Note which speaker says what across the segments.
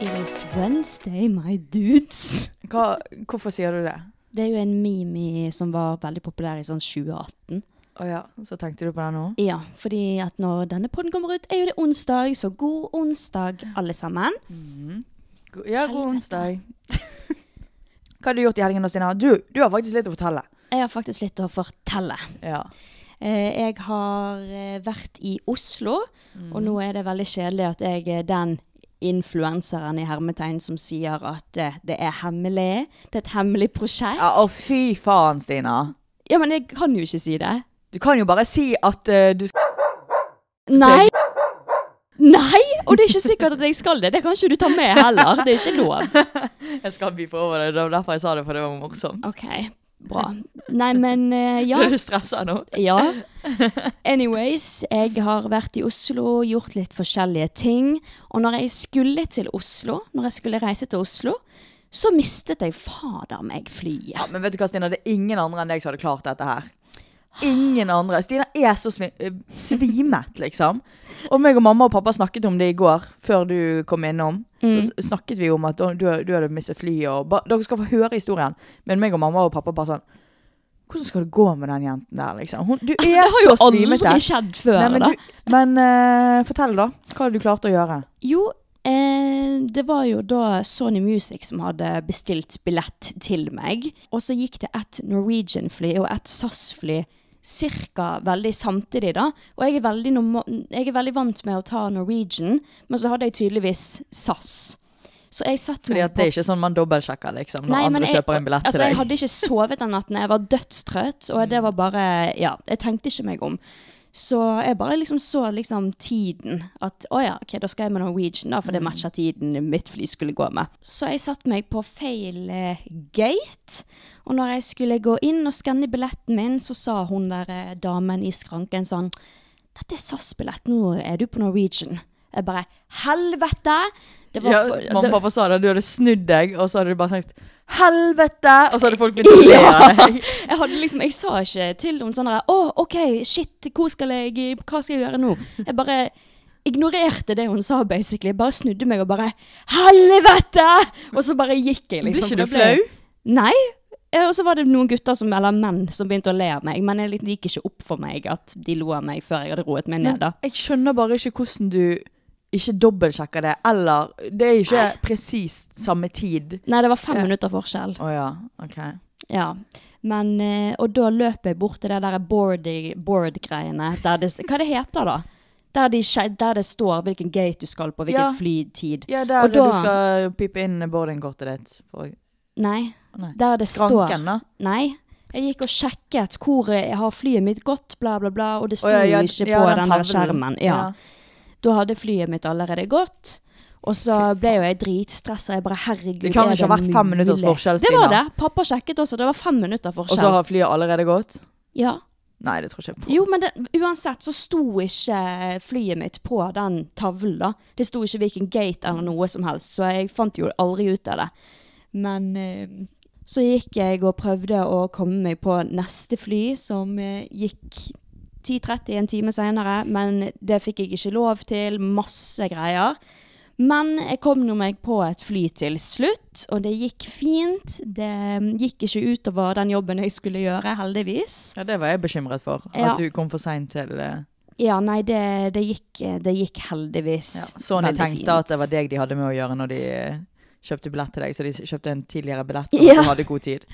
Speaker 1: It is Wednesday, my dudes.
Speaker 2: Hva, hvorfor sier du det?
Speaker 1: Det er jo en meme i- som var veldig populær i sånn 2018.
Speaker 2: Å ja, så tenkte du på det nå?
Speaker 1: Ja, fordi at når denne podden kommer ut, er jo det onsdag, så god onsdag, alle sammen.
Speaker 2: Go- Ja, god
Speaker 1: Helvete.
Speaker 2: onsdag. Hva har du gjort i helgen da, Stina? Du, du har faktisk litt å fortelle.
Speaker 1: Jeg har faktisk litt å fortelle.
Speaker 2: Ja.
Speaker 1: Eh, Jeg har eh, vært i Oslo, og nå er det veldig kjedelig at jeg er den influenseren i hermetegn som sier at eh, det er hemmelig, det er et hemmelig prosjekt.
Speaker 2: ja og fy faen, Stina.
Speaker 1: Ja, men jeg kan jo ikke si det.
Speaker 2: Du kan jo bare si at eh, du skal
Speaker 1: Nei! Nei! Og det er ikke sikkert at jeg skal det. Det kan ikke du ta med heller. Det er ikke lov.
Speaker 2: Jeg skal bife over det. Det var derfor jeg sa det, for det var morsomt.
Speaker 1: OK, bra. Nei, men eh, ja.
Speaker 2: Er du stressa nå?
Speaker 1: Ja. Anyways, jeg har vært i Oslo, gjort litt forskjellige ting. Og når jeg skulle til Oslo, når jeg skulle reise til Oslo, så mistet jeg fader meg flyet.
Speaker 2: Ja, men vet du hva, Stina? Det er ingen andre enn deg som hadde klart dette her. Ingen andre. Stina er så svi eh, svimet, liksom. Og meg og mamma og pappa snakket om det i går, før du kom innom. Så
Speaker 1: Mm.
Speaker 2: s- snakket vi om at du, du hadde mistet flyet, og ba, dere skal få høre historien. Men meg og mamma og pappa bare sånn Hvordan skal det gå med den jenten der, liksom? Hun, du
Speaker 1: Altså,
Speaker 2: er
Speaker 1: det har jo
Speaker 2: så svimete.
Speaker 1: aldri skjedd før.
Speaker 2: Nei, men
Speaker 1: da.
Speaker 2: du, men eh, fortell, da. Hva hadde du klart å gjøre?
Speaker 1: Jo, eh, det var jo da Sony Music som hadde bestilt billett til meg. Og så gikk det ett Norwegian-fly og ett SAS-fly cirka veldig samtidig da. Og jeg er, veldig norma- jeg er veldig vant med å ta Norwegian, men så hadde jeg tydeligvis SAS. Så jeg satt
Speaker 2: Fordi
Speaker 1: meg
Speaker 2: at det er ikke sånn man dobbeltsjekker, liksom, når
Speaker 1: Nei, men
Speaker 2: andre
Speaker 1: jeg-
Speaker 2: kjøper en billett
Speaker 1: altså,
Speaker 2: til deg.
Speaker 1: Jeg hadde ikke sovet den natten. Jeg var dødstrøtt, og det var bare Ja, jeg tenkte ikke meg om. Så jeg bare liksom så liksom tiden. At å ja, ok, da skal jeg med Norwegian, da, for
Speaker 2: Mm.
Speaker 1: det matcher tiden mitt fly skulle gå med. Så jeg satte meg på feil eh, gate, og når jeg skulle gå inn og skanne billetten min, så sa hun der eh, damen i skranken sånn Dette er SAS-billett, nå er du på Norwegian. Jeg bare Helvete! Det var
Speaker 2: Ja,
Speaker 1: for-
Speaker 2: mamma
Speaker 1: det-
Speaker 2: og pappa sa det, du hadde snudd deg, og så hadde du bare sagt 'helvete', og så hadde folk begynt å le av deg.
Speaker 1: Jeg hadde liksom, jeg sa ikke til noen sånn der, Å, ok, shit, hvor skal jeg, hva skal jeg gjøre nå? Jeg bare ignorerte det hun sa, basically. Jeg bare snudde meg og bare Helvete! Og så bare gikk jeg,
Speaker 2: Blir
Speaker 1: liksom.
Speaker 2: ikke
Speaker 1: for da
Speaker 2: du
Speaker 1: ble jeg-
Speaker 2: flau?
Speaker 1: Nei. Eh, Og så var det noen gutter, som, eller menn, som begynte å le av meg. Men det gikk ikke opp for meg at de lo av meg før jeg hadde roet meg ned. da.
Speaker 2: Jeg skjønner bare ikke hvordan du ikke dobbeltsjekker det, eller Det er ikke presist samme tid.
Speaker 1: Nei, det var fem
Speaker 2: Ja.
Speaker 1: minutter forskjell.
Speaker 2: Å ja, OK.
Speaker 1: Ja. Men, eh, og da løp jeg bort til det der boarding- board-greiene. der det- hva det heter da? Der, de, skje- der det står hvilken gate du skal på, hvilken
Speaker 2: Ja.
Speaker 1: flytid.
Speaker 2: Ja, der
Speaker 1: Og da-
Speaker 2: du skal pipe inn boardingkortet ditt. For,
Speaker 1: Nei,
Speaker 2: nei.
Speaker 1: der det
Speaker 2: Skranken,
Speaker 1: står
Speaker 2: da?
Speaker 1: Nei. Jeg gikk og sjekket hvor jeg har flyet mitt gått, bla, bla, bla, og det sto
Speaker 2: Å ja, ja,
Speaker 1: jo ikke på
Speaker 2: ja, den
Speaker 1: den, der
Speaker 2: tavlen.
Speaker 1: skjermen. Ja. Da hadde flyet mitt allerede gått. Og så ble jo jeg dritstressa. Jeg bare herregud,
Speaker 2: Det kan
Speaker 1: er
Speaker 2: jo ikke ha vært fem minutters
Speaker 1: mulig?
Speaker 2: forskjell,
Speaker 1: Det var det.
Speaker 2: Stina.
Speaker 1: Pappa sjekket også. Det var fem minutter
Speaker 2: Og
Speaker 1: forskjell.
Speaker 2: så har flyet allerede gått?
Speaker 1: ja.
Speaker 2: Nei, det tror ikke jeg på.
Speaker 1: Jo, men det, uansett så sto ikke flyet mitt på den tavlen, da. Det sto ikke hvilken gate eller noe som helst, så jeg fant jo aldri ut av det. Men eh, så gikk jeg og prøvde å komme meg på neste fly, som eh, gikk 10.30 en time seinere, men det fikk jeg ikke lov til. Masse greier. Men jeg kom nå meg på et fly til slutt, og det gikk fint. Det mm, gikk ikke utover den jobben jeg skulle gjøre, heldigvis.
Speaker 2: Ja, det var jeg bekymret for.
Speaker 1: Ja.
Speaker 2: At du kom for seint til det.
Speaker 1: Ja, nei, det, det, gikk, eh, det gikk heldigvis
Speaker 2: Ja. Sånn de
Speaker 1: veldig
Speaker 2: tenkte
Speaker 1: fint.
Speaker 2: at det var deg de hadde med å gjøre når de eh, kjøpte billett til deg. Så de s- kjøpte en tidligere billett, og
Speaker 1: Ja.
Speaker 2: så hadde god tid.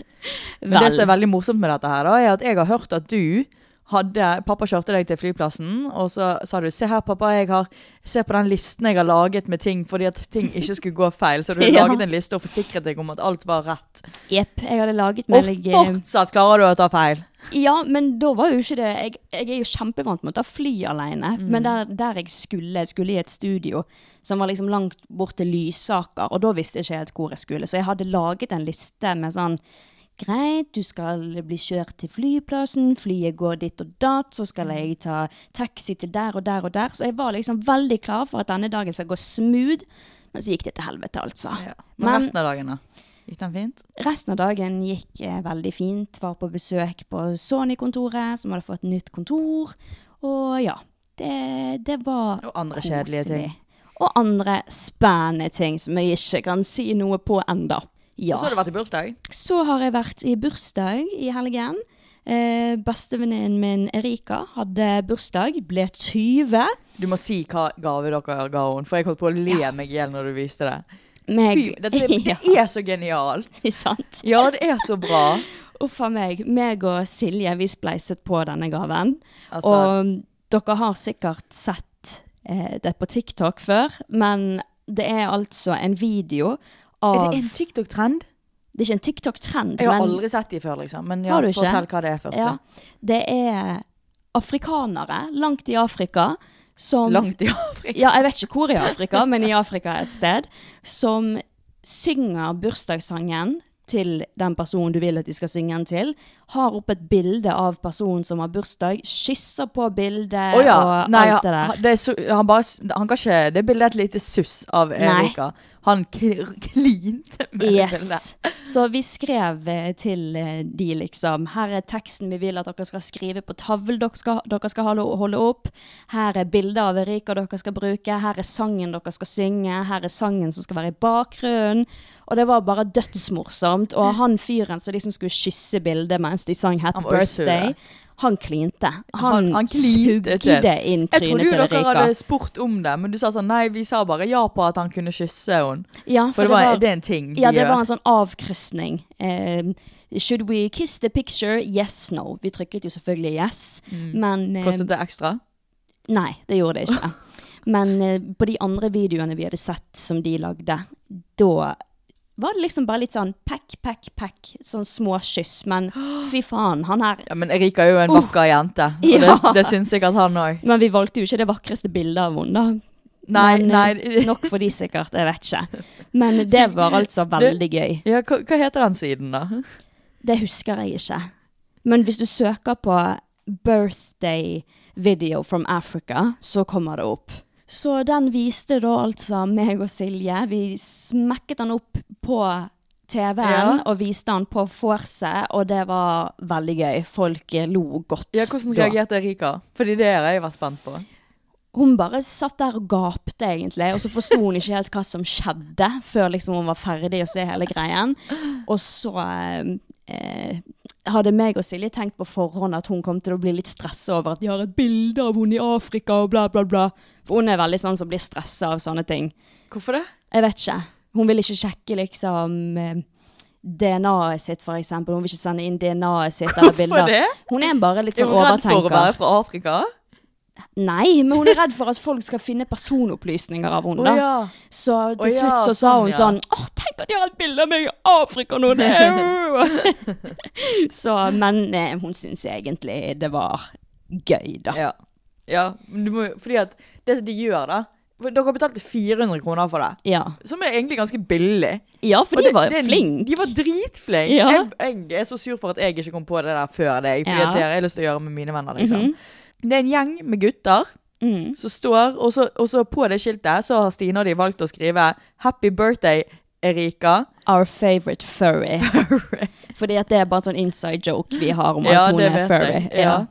Speaker 2: Men det
Speaker 1: Vel.
Speaker 2: som er veldig morsomt med dette her, da, er at jeg har hørt at du hadde, Pappa kjørte deg til flyplassen, og så sa du 'se her, pappa, jeg har, se på den listen jeg har laget med ting', fordi at ting ikke skulle gå feil. Så du har
Speaker 1: Ja.
Speaker 2: laget en liste og forsikret deg om at alt var rett.
Speaker 1: Jepp, jeg hadde laget
Speaker 2: Og
Speaker 1: meg eh,
Speaker 2: fortsatt klarer du å ta feil!
Speaker 1: Ja, men da var jo ikke det Jeg, jeg er jo kjempevant med å ta fly alene, men der, der jeg skulle, jeg skulle i et studio som var liksom langt bort til Lysaker, og da visste jeg ikke helt hvor jeg skulle, så jeg hadde laget en liste med sånn Greit, du skal bli kjørt til flyplassen, flyet går dit og datt, så skal jeg ta taxi til der og der og der. Så jeg var liksom veldig klar for at denne dagen skal gå smooth, men så gikk det til helvete, altså.
Speaker 2: Men, resten av dagen, da? Gikk den fint?
Speaker 1: Resten av dagen gikk eh, veldig fint. Var på besøk på Sony-kontoret, som hadde fått nytt kontor. Og ja, det, det var
Speaker 2: Og andre kjedelige
Speaker 1: koselig.
Speaker 2: ting.
Speaker 1: Og andre spennende ting som jeg ikke kan si noe på enda. Ja.
Speaker 2: Og så har det vært i bursdag.
Speaker 1: Så har jeg vært i bursdag i helgen. Eh, Bestevenninnen min Erika hadde bursdag, ble 20.
Speaker 2: Du må si hva gave dere ga henne, for jeg holdt på å le meg i hjel når du viste det. Fy,
Speaker 1: Meg,
Speaker 2: dette, det
Speaker 1: ja,
Speaker 2: er så genialt!
Speaker 1: sant?
Speaker 2: Ja, det er så bra.
Speaker 1: Uff a meg. Meg og Silje, vi spleiset på denne gaven.
Speaker 2: Altså-
Speaker 1: og dere har sikkert sett eh, det på TikTok før, men det er altså en video av
Speaker 2: Er det en TikTok-trend?
Speaker 1: Det er ikke en TikTok-trend,
Speaker 2: Jeg har
Speaker 1: men
Speaker 2: aldri sett de før, liksom. Men ja,
Speaker 1: Har du ikke?
Speaker 2: fortell hva det er først.
Speaker 1: ja,
Speaker 2: da.
Speaker 1: det er afrikanere langt i Afrika som
Speaker 2: Langt i Afrika.
Speaker 1: Ja, jeg vet ikke hvor i Afrika, men i Afrika et sted. Som synger bursdagssangen til den personen du vil at de skal synge den til. Har opp et bilde av personen som har bursdag. Kysser på bildet
Speaker 2: Å ja.
Speaker 1: og
Speaker 2: Nei,
Speaker 1: alt det
Speaker 2: han,
Speaker 1: der.
Speaker 2: det er så, han bare s- Han kan ikke Det bildet er et lite suss av Erika. Han kl- klinte med det bildet.
Speaker 1: Yes. Så vi skrev eh, til eh, de liksom Her er teksten vi vil at dere skal skrive på tavlen dere skal, dere skal holde, holde opp. Her er bildet av Erika dere skal bruke. Her er sangen dere skal synge. Her er sangen som skal være i bakgrunnen. Og det var bare dødsmorsomt. Og han fyren som liksom skulle kysse bildet mens de sang Happy
Speaker 2: Han var jo søt.
Speaker 1: Birthday, han klinte. Han,
Speaker 2: Han- han klinte til.
Speaker 1: sugde inn
Speaker 2: Jeg trodde
Speaker 1: trynet
Speaker 2: jo
Speaker 1: til
Speaker 2: dere
Speaker 1: Erika.
Speaker 2: hadde spurt om det, men du sa sånn nei, vi sa bare ja på at han kunne kysse henne.
Speaker 1: Ja,
Speaker 2: For det, var, det er en ting de
Speaker 1: Ja, det
Speaker 2: gjør.
Speaker 1: var en sånn avkrysning. Eh, should we kiss the picture? Yes, no. Vi trykket jo selvfølgelig yes, men eh,
Speaker 2: Mm. Kostet det ekstra?
Speaker 1: Nei, det gjorde det ikke. Men eh, på de andre videoene vi hadde sett som de lagde, da var det liksom bare litt sånn pekk, pekk, pekk. Sånn små kyss. Men fy faen, han her
Speaker 2: Ja, men Erika er jo en vakker jente, og
Speaker 1: Ja.
Speaker 2: det, det syns sikkert han òg.
Speaker 1: Men vi valgte jo ikke det vakreste bildet av henne, da.
Speaker 2: Nei,
Speaker 1: Men, eh,
Speaker 2: nei.
Speaker 1: Nok for de sikkert, jeg vet ikke. Men det var altså veldig gøy.
Speaker 2: Ja, hva, hva heter den siden, da?
Speaker 1: Det husker jeg ikke. Men hvis du søker på 'birthday video from Africa', så kommer det opp. Så den viste da altså meg og Silje. Vi smekket den opp på TV-en
Speaker 2: Ja.
Speaker 1: og viste den på vorset, og det var veldig gøy. Folk eh, lo godt.
Speaker 2: Ja, Hvordan
Speaker 1: da.
Speaker 2: reagerte Erika? Fordi det har jeg vært spent på.
Speaker 1: Hun bare satt der og gapte, egentlig, og så forsto hun ikke helt hva som skjedde, før liksom hun var ferdig å se hele greien. Og så eh, eh, hadde meg og Silje tenkt på forhånd at hun kom til å bli litt stressa over at de har et bilde av henne i Afrika og bla, bla, bla. For hun er veldig sånn som blir stressa av sånne ting.
Speaker 2: Hvorfor det?
Speaker 1: Jeg vet ikke. Hun vil ikke sjekke liksom eh, DNA-et sitt, for eksempel. Hun vil ikke sende inn DNA-et sitt eller bilder.
Speaker 2: Hvorfor det?
Speaker 1: Hun er bare litt
Speaker 2: Er
Speaker 1: sånn
Speaker 2: hun redd for å være
Speaker 1: overtenker.
Speaker 2: fra Afrika?
Speaker 1: Nei, men hun er redd for at folk skal finne personopplysninger av henne. da. Så til
Speaker 2: Å ja,
Speaker 1: slutt så sa
Speaker 2: sånn,
Speaker 1: hun
Speaker 2: ja.
Speaker 1: sånn Åh, tenk at de har et bilde av meg i Afrika nå! det er jo!» så, men eh, hun syns egentlig det var gøy, da.
Speaker 2: Ja. ja. men Du må, jo- fordi at det de gjør, da for Dere betalte 400 kroner for det,
Speaker 1: Ja,
Speaker 2: som er egentlig ganske billig.
Speaker 1: ja for de
Speaker 2: Og det-
Speaker 1: var
Speaker 2: det-
Speaker 1: flinke.
Speaker 2: De var dritflinke.
Speaker 1: Ja.
Speaker 2: Jeg, jeg er så sur for at jeg ikke kom på det der før deg, fordi
Speaker 1: Ja. Mhm.
Speaker 2: at det har jeg lyst til å gjøre med mine venner. liksom. Det er en gjeng med gutter
Speaker 1: Mm.
Speaker 2: som står, og så, og så på det skiltet så har Stine og de valgt å skrive 'Happy birthday, Erika'.
Speaker 1: Our favorite furry. Fordi at det er bare en sånn inside joke vi har om at hun er furry.
Speaker 2: Ja.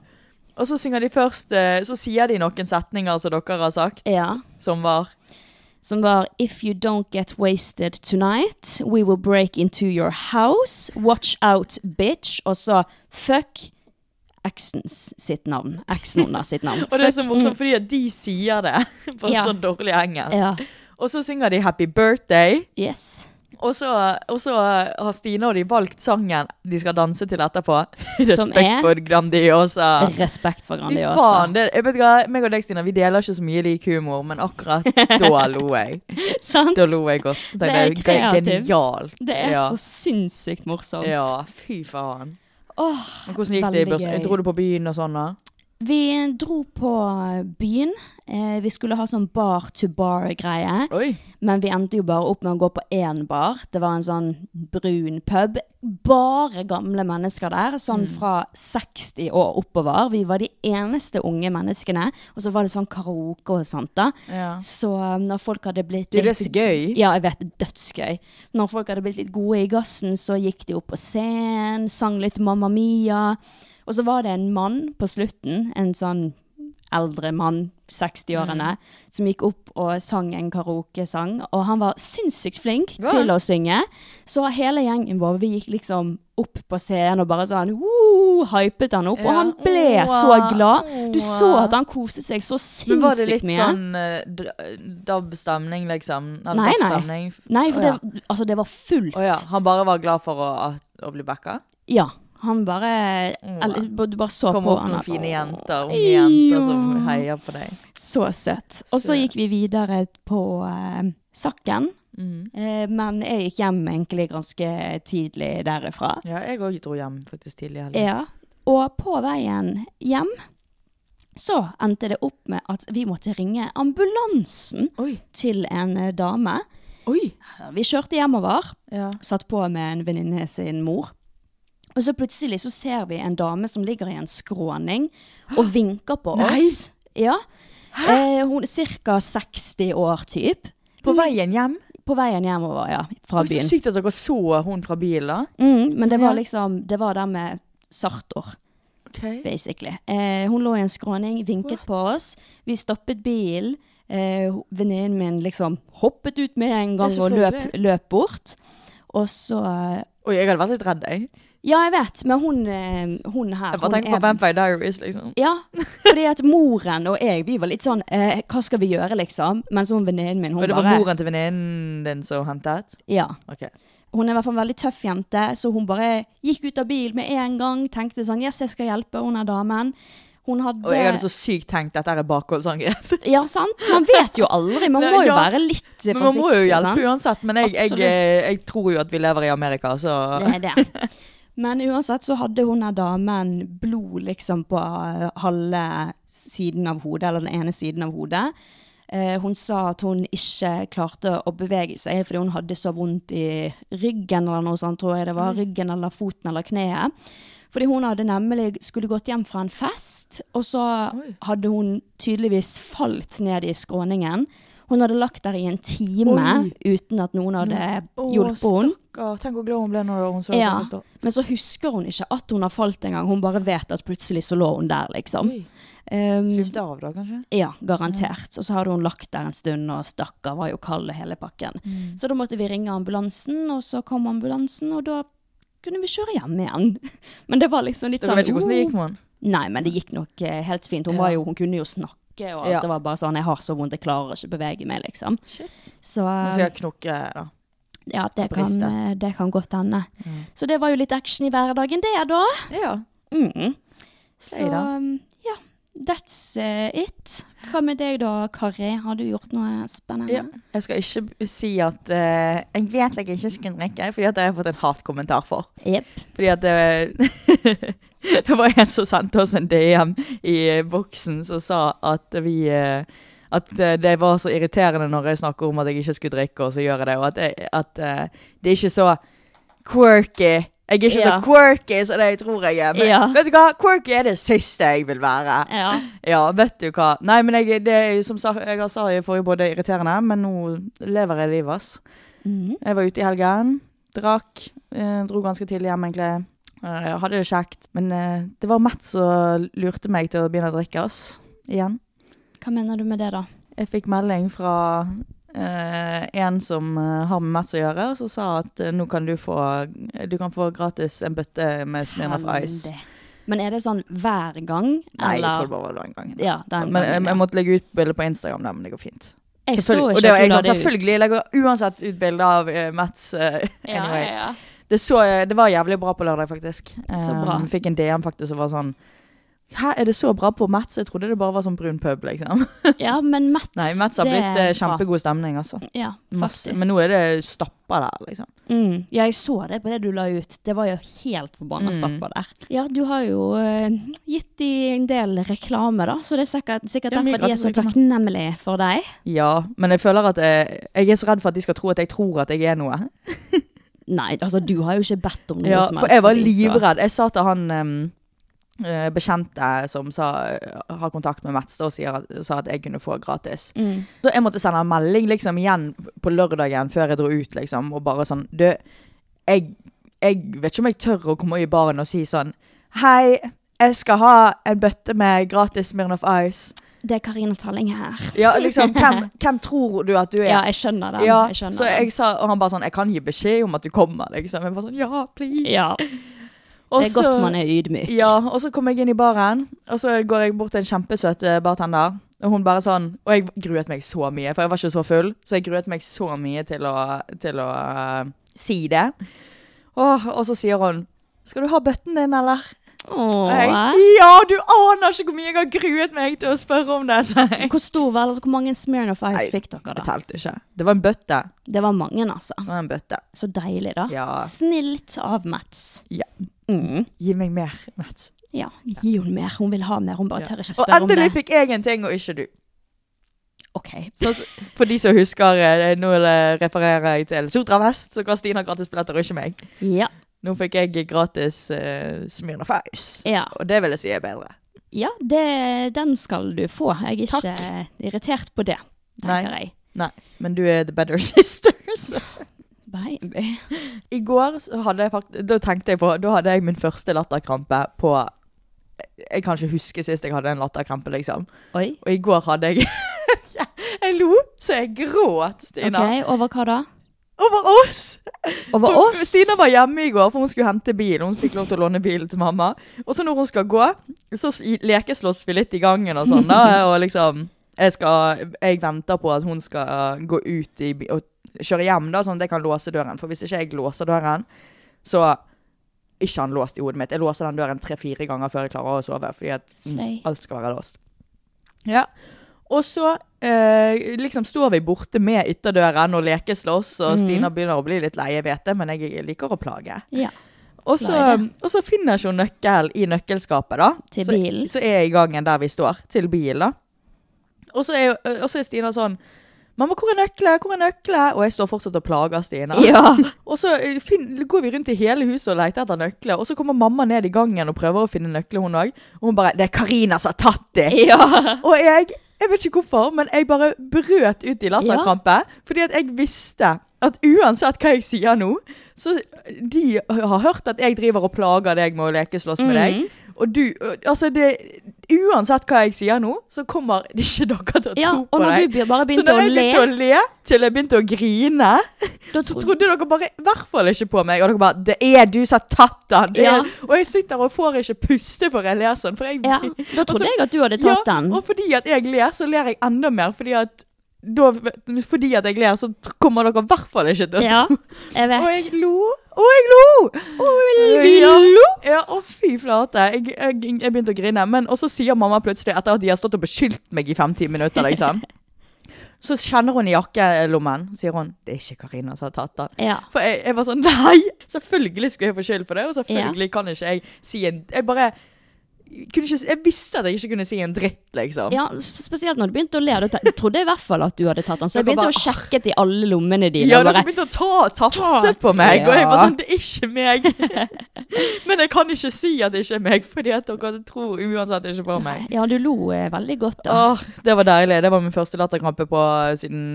Speaker 2: Og så synger de først eh, Så sier de noen setninger som dere har sagt,
Speaker 1: Ja.
Speaker 2: som var
Speaker 1: Som var If you don't get wasted tonight, we will break into your house. Watch out, bitch. Og så fuck eksens sitt navn. Eksen hennes sitt navn.
Speaker 2: Og det er
Speaker 1: Fuck.
Speaker 2: så morsomt, fordi at de sier det på
Speaker 1: Mm. Ja.
Speaker 2: sånn dårlig engelsk.
Speaker 1: Ja.
Speaker 2: Og så synger de 'Happy birthday',
Speaker 1: Yes.
Speaker 2: og så, og så har Stine og de valgt sangen de skal danse til etterpå.
Speaker 1: Som
Speaker 2: Respekt
Speaker 1: er-
Speaker 2: for Grandiosa.
Speaker 1: Respekt for
Speaker 2: Fy
Speaker 1: Grandiosa.
Speaker 2: faen, det, jeg vet hva, meg og deg, Stina, vi deler ikke så mye lik humor, men akkurat da lo jeg.
Speaker 1: Sant?
Speaker 2: Da lo jeg godt. Så
Speaker 1: Det
Speaker 2: tenkte
Speaker 1: er
Speaker 2: jeg, ge-
Speaker 1: kreativt.
Speaker 2: Genialt.
Speaker 1: Det er
Speaker 2: ja.
Speaker 1: så sinnssykt morsomt.
Speaker 2: Ja, fy faen.
Speaker 1: Åh,
Speaker 2: Men hvordan gikk det i
Speaker 1: veldig
Speaker 2: børsen?
Speaker 1: gøy.
Speaker 2: Dro du på byen og sånn, da?
Speaker 1: vi dro på byen. Eh, vi skulle ha sånn bar-to-bar-greie.
Speaker 2: Oi.
Speaker 1: Men vi endte jo bare opp med å gå på én bar. Det var en sånn brun pub. Bare gamle mennesker der,
Speaker 2: Mm.
Speaker 1: sånn fra 60 og oppover. Vi var de eneste unge menneskene. Og så var det sånn karaoke og sånt, da.
Speaker 2: Ja.
Speaker 1: Så um, når folk hadde blitt
Speaker 2: Du, det er så gøy.
Speaker 1: Ja, jeg vet. det er Dødsgøy. Når folk hadde blitt litt gode i gassen, så gikk de opp på scenen, sang litt Mamma Mia. Og så var det en mann på slutten, en sånn eldre mann,
Speaker 2: Mm.
Speaker 1: 60-årene, som gikk opp og sang en karaokesang. Og han var sinnssykt flink
Speaker 2: Hva?
Speaker 1: til å synge. Så hele gjengen vår, vi gikk liksom opp på scenen og bare sånn woo, hypet han opp.
Speaker 2: Ja.
Speaker 1: Og han ble
Speaker 2: Åh,
Speaker 1: så glad. Du
Speaker 2: åh.
Speaker 1: så at han koset seg så sinnssykt mye.
Speaker 2: Men var det litt sånn eh, d- dab-stemning, liksom? Eller
Speaker 1: Nei, nei.
Speaker 2: daff-stemning?
Speaker 1: Nei, for
Speaker 2: Å, ja.
Speaker 1: det, altså, det var fullt.
Speaker 2: Å ja. Han bare var glad for å, å bli backa?
Speaker 1: Ja, han bare eller, ba- Du bare så
Speaker 2: Kom
Speaker 1: på
Speaker 2: opp
Speaker 1: han
Speaker 2: noen
Speaker 1: at, «Åh,
Speaker 2: fine jenter, unge jenter som
Speaker 1: ja,
Speaker 2: heier på deg.
Speaker 1: Så søt. Og så
Speaker 2: Søt.
Speaker 1: gikk vi videre på eh, Sakken.
Speaker 2: Mm.
Speaker 1: Eh, men jeg gikk hjem egentlig ganske tidlig derifra.
Speaker 2: Ja, jeg òg dro hjem faktisk tidlig i helgen.
Speaker 1: Ja. Og på veien hjem så endte det opp med at vi måtte ringe ambulansen
Speaker 2: Oi.
Speaker 1: til en eh, dame.
Speaker 2: Oi.
Speaker 1: Vi kjørte hjemover.
Speaker 2: Ja.
Speaker 1: satt på med en venninne sin mor. Og så plutselig så ser vi en dame som ligger i en skråning og vinker på
Speaker 2: Nei!
Speaker 1: oss. Ja. Eh, hun er ca. 60 år typ.
Speaker 2: På veien hjem?
Speaker 1: På veien hjemover, ja. Fra
Speaker 2: Oi, Så
Speaker 1: byen.
Speaker 2: sykt at dere så hun fra bilen, da.
Speaker 1: Mm, men det
Speaker 2: Ja.
Speaker 1: var liksom Det var det med sartor, basically. Eh, hun lå i en skråning, vinket på oss. Vi stoppet bilen. Eh, ho- Venninnen min liksom hoppet ut med en gang og løp,
Speaker 2: selvfølgelig.
Speaker 1: løp bort. Og så eh,
Speaker 2: Oi, jeg hadde vært litt redd, jeg.
Speaker 1: Ja, jeg vet, men hun, eh, hun her
Speaker 2: Jeg bare
Speaker 1: hun
Speaker 2: tenkte på Vampire Diaries, liksom.
Speaker 1: Ja, fordi at moren og jeg, vi var litt sånn eh, Hva skal vi gjøre, liksom? Mens hun venninnen min, hun
Speaker 2: Og det var
Speaker 1: bare
Speaker 2: moren til venninnen din som hentet?
Speaker 1: Ja.
Speaker 2: Ok.
Speaker 1: Hun er i hvert fall en veldig tøff jente, så hun bare gikk ut av bil med en gang. Tenkte sånn Yes, jeg skal hjelpe hun her damen. Hun hadde,
Speaker 2: Og jeg hadde så sykt tenkt dette er bakholdsangrep.
Speaker 1: Ja, sant? Man vet jo aldri. Man
Speaker 2: Nei,
Speaker 1: må jo
Speaker 2: ja.
Speaker 1: være litt forsiktig.
Speaker 2: Men man må jo hjelpe
Speaker 1: sant?
Speaker 2: uansett. Men jeg, jeg, jeg,
Speaker 1: Absolutt.
Speaker 2: tror jo at vi lever i Amerika, så
Speaker 1: Det er det. Men uansett så hadde hun her damen blod liksom på eh, halve siden av hodet, eller den ene siden av hodet. Eh, hun sa at hun ikke klarte å bevege seg fordi hun hadde så vondt i ryggen eller noe sånt, tror jeg det var. Ryggen eller foten eller kneet. Fordi hun hadde nemlig skulle gått hjem fra en fest, og så hadde hun tydeligvis falt ned i skråningen. Hun hadde lagt der i en time uten at noen hadde hjulpet henne.
Speaker 2: stakkar. Tenk hvor glad hun ble når hun så
Speaker 1: Ja, men så husker hun ikke at hun har falt engang. Hun bare vet at plutselig så lå hun der, liksom. Um,
Speaker 2: Svimte av, da, kanskje?
Speaker 1: ja, garantert. Og så hadde hun lagt der en stund, og stakkar,
Speaker 2: Mm.
Speaker 1: var jo kald i hele pakken. Så da måtte vi ringe ambulansen, og så kom ambulansen, og da kunne vi kjøre hjem igjen. Men det var liksom litt
Speaker 2: Dere
Speaker 1: sånn
Speaker 2: vet ikke hvordan det
Speaker 1: «Oh».
Speaker 2: gikk med han.
Speaker 1: Nei, men det gikk nok eh, helt fint. Hun, var jo, hun kunne jo snakke, og alt.
Speaker 2: Ja.
Speaker 1: det var bare sånn 'Jeg har så vondt, jeg klarer ikke bevege meg', liksom.
Speaker 2: Shit.
Speaker 1: Så
Speaker 2: Nå skal jeg knokke, da.
Speaker 1: ja, det kan,
Speaker 2: bristet.
Speaker 1: eh, det kan godt hende. Så det var jo litt action i hverdagen, det, da.
Speaker 2: Mm. Ja.
Speaker 1: Mm. Så
Speaker 2: Gøy da.
Speaker 1: um, ja, that's eh, it. Hva med deg da, Kari? Har du gjort noe spennende?
Speaker 2: Ja. Jeg skal ikke b- si at eh, Jeg vet jeg ikke skulle drikke, fordi at jeg har fått en hatkommentar for.
Speaker 1: Jepp.
Speaker 2: Fordi at det, det var en som sendte oss en DM i boksen som sa at vi eh, At eh, det var så irriterende når jeg snakker om at jeg ikke skulle drikke, og så gjør jeg det. Og at, jeg, at eh, det er ikke så quirky. Jeg er ikke
Speaker 1: Ja.
Speaker 2: så quirky som det jeg tror jeg er. Men
Speaker 1: Ja.
Speaker 2: vet du hva? Quirky er det siste jeg vil være.
Speaker 1: Ja.
Speaker 2: Ja, vet du hva. Nei, men jeg, det, er som sa, jeg har sa i forrige både irriterende, men nå lever jeg livet, ass.
Speaker 1: Mhm.
Speaker 2: Jeg var ute i helgen, drakk, eh, dro ganske tidlig hjem egentlig. Eh, jeg hadde det kjekt, men eh, det var Matt som lurte meg til å begynne å drikke ass, igjen.
Speaker 1: Hva mener du med det, da?
Speaker 2: Jeg fikk melding fra eh, en som eh, har med Mats å gjøre, og som sa at eh, nå kan du få, du kan få gratis en bøtte med Smirnoff Ice.
Speaker 1: Heldig. Men er det sånn hver gang?
Speaker 2: Nei, jeg
Speaker 1: eller?
Speaker 2: tror det bare var en gang.
Speaker 1: Ja, den
Speaker 2: Men jeg,
Speaker 1: gangen,
Speaker 2: jeg
Speaker 1: ja.
Speaker 2: måtte legge ut bilder på Instagram, da, men det går fint.
Speaker 1: Jeg så ikke
Speaker 2: Selvfølgelig- og det var
Speaker 1: at du la
Speaker 2: jeg sånn,
Speaker 1: det ut.
Speaker 2: Selvfølgelig, jeg legger uansett ut bilder av eh, Mats eh,
Speaker 1: Ja, ja,
Speaker 2: anyways.
Speaker 1: ja.
Speaker 2: Det, så, eh, det var jævlig bra på lørdag, faktisk.
Speaker 1: Så bra.
Speaker 2: Um, fikk en DM faktisk som var sånn Hæ, er det så bra på Mats? Jeg trodde det bare var sånn brun pub, liksom.
Speaker 1: Ja, men Mats
Speaker 2: Nei, Mats har
Speaker 1: det
Speaker 2: blitt
Speaker 1: er
Speaker 2: eh,
Speaker 1: bra.
Speaker 2: kjempegod stemning, altså.
Speaker 1: Ja,
Speaker 2: Masse.
Speaker 1: faktisk.
Speaker 2: Men nå er det stappa der, liksom.
Speaker 1: mm. Ja, jeg så det på det du la ut. Det var jo helt forbanna
Speaker 2: Mm.
Speaker 1: stappa der. Ja, du har jo eh, gitt de en del reklame, da, så det er sikkert, sikkert
Speaker 2: Ja, mye
Speaker 1: derfor de er
Speaker 2: gratis
Speaker 1: så
Speaker 2: reklame.
Speaker 1: takknemlige for deg.
Speaker 2: Ja, men jeg føler at jeg, jeg er så redd for at de skal tro at jeg tror at jeg er noe.
Speaker 1: Nei, altså, du har jo ikke bedt om noe
Speaker 2: Ja,
Speaker 1: som helst.
Speaker 2: for jeg var
Speaker 1: de, så-
Speaker 2: livredd. Jeg sa til han em, eh, bekjente som sa, eh, har kontakt med Mats, da, og sier at, sa at jeg kunne få gratis.
Speaker 1: Mm.
Speaker 2: Så jeg måtte sende en melding liksom igjen på lørdagen før jeg dro ut, liksom, og bare sånn Du, jeg, jeg vet ikke om jeg tør å komme i baren og si sånn Hei, jeg skal ha en bøtte med gratis Smirnoff Ice.
Speaker 1: Det er Karina Talling her.
Speaker 2: Ja, liksom, hvem, hvem tror du at du er?
Speaker 1: Ja, jeg skjønner den.
Speaker 2: Ja,
Speaker 1: jeg skjønner
Speaker 2: så
Speaker 1: den.
Speaker 2: jeg sa, og han bare sånn Jeg kan gi beskjed om at du kommer, liksom. Jeg bare sånn Ja, please.
Speaker 1: Ja,
Speaker 2: Og
Speaker 1: det er godt
Speaker 2: så-
Speaker 1: man er ydmyk.
Speaker 2: ja, og så kom jeg inn i baren, og så går jeg bort til en kjempesøt eh, bartender. Og hun bare sånn, og jeg gruet meg så mye, for jeg var ikke så full. Så jeg gruet meg så mye til å, til å eh, si det. Åh, og så sier hun Skal du ha bøtten din, eller? Og
Speaker 1: Åh.
Speaker 2: jeg, ja, du aner ikke hvor mye jeg har gruet meg til å spørre om det, sa jeg.
Speaker 1: Hvor stor var altså, Hvor mange Smirnoff Ice
Speaker 2: Nei,
Speaker 1: fikk dere,
Speaker 2: Det
Speaker 1: da?
Speaker 2: telte ikke. Det var en bøtte.
Speaker 1: Det var mange, altså.
Speaker 2: Det var en bøtte.
Speaker 1: Så deilig, da.
Speaker 2: Ja.
Speaker 1: Snilt av Mats.
Speaker 2: Ja.
Speaker 1: Mm.
Speaker 2: Gi meg mer, Mats.
Speaker 1: Ja, gi hun mer. Hun vil ha mer. Hun bare tør ikke
Speaker 2: Og
Speaker 1: spørre om
Speaker 2: endelig
Speaker 1: det.
Speaker 2: fikk jeg en ting, og ikke du.
Speaker 1: Ok.
Speaker 2: Så, så- for de som husker, eh, nå eh, refererer jeg til Sotra Vest, så ga Stina gratis billetter, og ikke meg.
Speaker 1: Ja.
Speaker 2: Nå fikk jeg gratis uh, Smirnoff Ice.
Speaker 1: ja.
Speaker 2: Og det vil jeg si er bedre.
Speaker 1: ja det, den skal du få. Jeg er ikke
Speaker 2: Takk.
Speaker 1: irritert på det, tenker
Speaker 2: Nei.
Speaker 1: jeg.
Speaker 2: Nei, men du er the better sister. så.
Speaker 1: Baby.
Speaker 2: I går så hadde jeg fakt da tenkte jeg på Da hadde jeg min første latterkrampe på Jeg kan ikke huske sist jeg hadde en latterkrampe, liksom.
Speaker 1: Oi.
Speaker 2: Og i går hadde jeg Jeg lo så jeg gråt,
Speaker 1: Ok,
Speaker 2: Stina.
Speaker 1: over hva da?
Speaker 2: Over oss!
Speaker 1: Over
Speaker 2: For
Speaker 1: oss?
Speaker 2: Stina var hjemme i går, for hun skulle hente bil. Hun fikk lov til å låne bilen til mamma. Og så når hun skal gå, så s- lekeslåss vi litt i gangen og sånn, da. Og liksom jeg, skal, jeg venter på at hun skal gå ut i, bi- og kjøre hjem, da, sånn at jeg kan låse døren. For hvis ikke jeg låser døren, så er ikke han låst i hodet mitt. Jeg låser den døren tre-fire ganger før jeg klarer å sove, fordi at mm,
Speaker 1: Slay.
Speaker 2: alt skal være låst. Ja. Og så eh, liksom står vi borte med ytterdøren og lekeslåss, og Stina begynner å bli litt lei, jeg vet det, men jeg liker å plage.
Speaker 1: Ja.
Speaker 2: Og så,
Speaker 1: Nei, det.
Speaker 2: og så finner ikke hun nøkkel i nøkkelskapet, da.
Speaker 1: Til
Speaker 2: så,
Speaker 1: bilen.
Speaker 2: Så er jeg i gangen der vi står, til bil, da. Og så er, og så er Stina sånn Mamma, hvor er nøkkelen? Hvor er nøkkelen? Og jeg står fortsatt og plager Stina.
Speaker 1: Ja.
Speaker 2: Og så eh, finn, går vi rundt i hele huset og leter etter nøkler, og så kommer mamma ned i gangen og prøver å finne nøkler, hun òg. Og hun bare 'Det er Karina som har tatt det!'
Speaker 1: Ja.
Speaker 2: Og jeg jeg vet ikke hvorfor, men jeg bare brøt ut i latterkrampe. Fordi at jeg visste at uansett hva jeg sier nå, så
Speaker 1: Mhm.
Speaker 2: de har hørt at jeg driver og plager deg med å lekeslåss med deg. Og du Altså, det Uansett hva jeg sier nå, så kommer ikke dere til å
Speaker 1: Ja,
Speaker 2: tro
Speaker 1: og
Speaker 2: på
Speaker 1: når du
Speaker 2: deg.
Speaker 1: be- bare
Speaker 2: Så
Speaker 1: begynte
Speaker 2: når
Speaker 1: å
Speaker 2: jeg
Speaker 1: le,
Speaker 2: begynte å le til jeg begynte å grine,
Speaker 1: da
Speaker 2: så
Speaker 1: trodde
Speaker 2: trodde dere bare i hvert fall ikke på meg. Og dere bare 'Det er du som har tatt den!' Det
Speaker 1: Ja.
Speaker 2: er- Og jeg sitter og får ikke puste for jeg ler sånn. For jeg,
Speaker 1: ja, da
Speaker 2: Og så-
Speaker 1: trodde jeg at du hadde tatt
Speaker 2: ja,
Speaker 1: den.
Speaker 2: Og fordi at jeg ler, så ler jeg enda mer. Fordi at, da, fordi at jeg ler, så tr- kommer dere i hvert fall ikke til å
Speaker 1: Ja, jeg
Speaker 2: Og jeg
Speaker 1: vet.
Speaker 2: lo. Og jeg lo!
Speaker 1: vi
Speaker 2: ja.
Speaker 1: lo.
Speaker 2: Ja, å fy flate. Jeg, jeg, jeg begynte å grine. Men og så sier mamma plutselig, etter at de har stått og beskyldt meg i fem-ti minutter, liksom Så kjenner hun i jakkelommen, sier hun. Det er ikke Karina som har tatt den.
Speaker 1: Ja.
Speaker 2: For jeg, jeg var sånn Nei! Selvfølgelig skulle jeg få skyld for det, og selvfølgelig kan ikke jeg si en Jeg bare kunne ikke, Jeg visste at jeg ikke kunne si en dritt, liksom.
Speaker 1: Ja, spesielt når du begynte å le. Da te- trodde jeg i hvert fall at du hadde tatt den. Så jeg
Speaker 2: Dere
Speaker 1: begynte
Speaker 2: bare,
Speaker 1: å sjekke i alle lommene dine.
Speaker 2: Ja,
Speaker 1: og
Speaker 2: dere
Speaker 1: bare,
Speaker 2: begynte å ta tafse
Speaker 1: Ta-
Speaker 2: på meg, og jeg var
Speaker 1: Ja.
Speaker 2: sånn Det er ikke meg. Men jeg kan ikke si at det ikke er meg, fordi at dere tror uansett ikke på meg.
Speaker 1: ja, du lo eh, veldig godt da.
Speaker 2: Åh, det var deilig. Det var min første latterkrampe på siden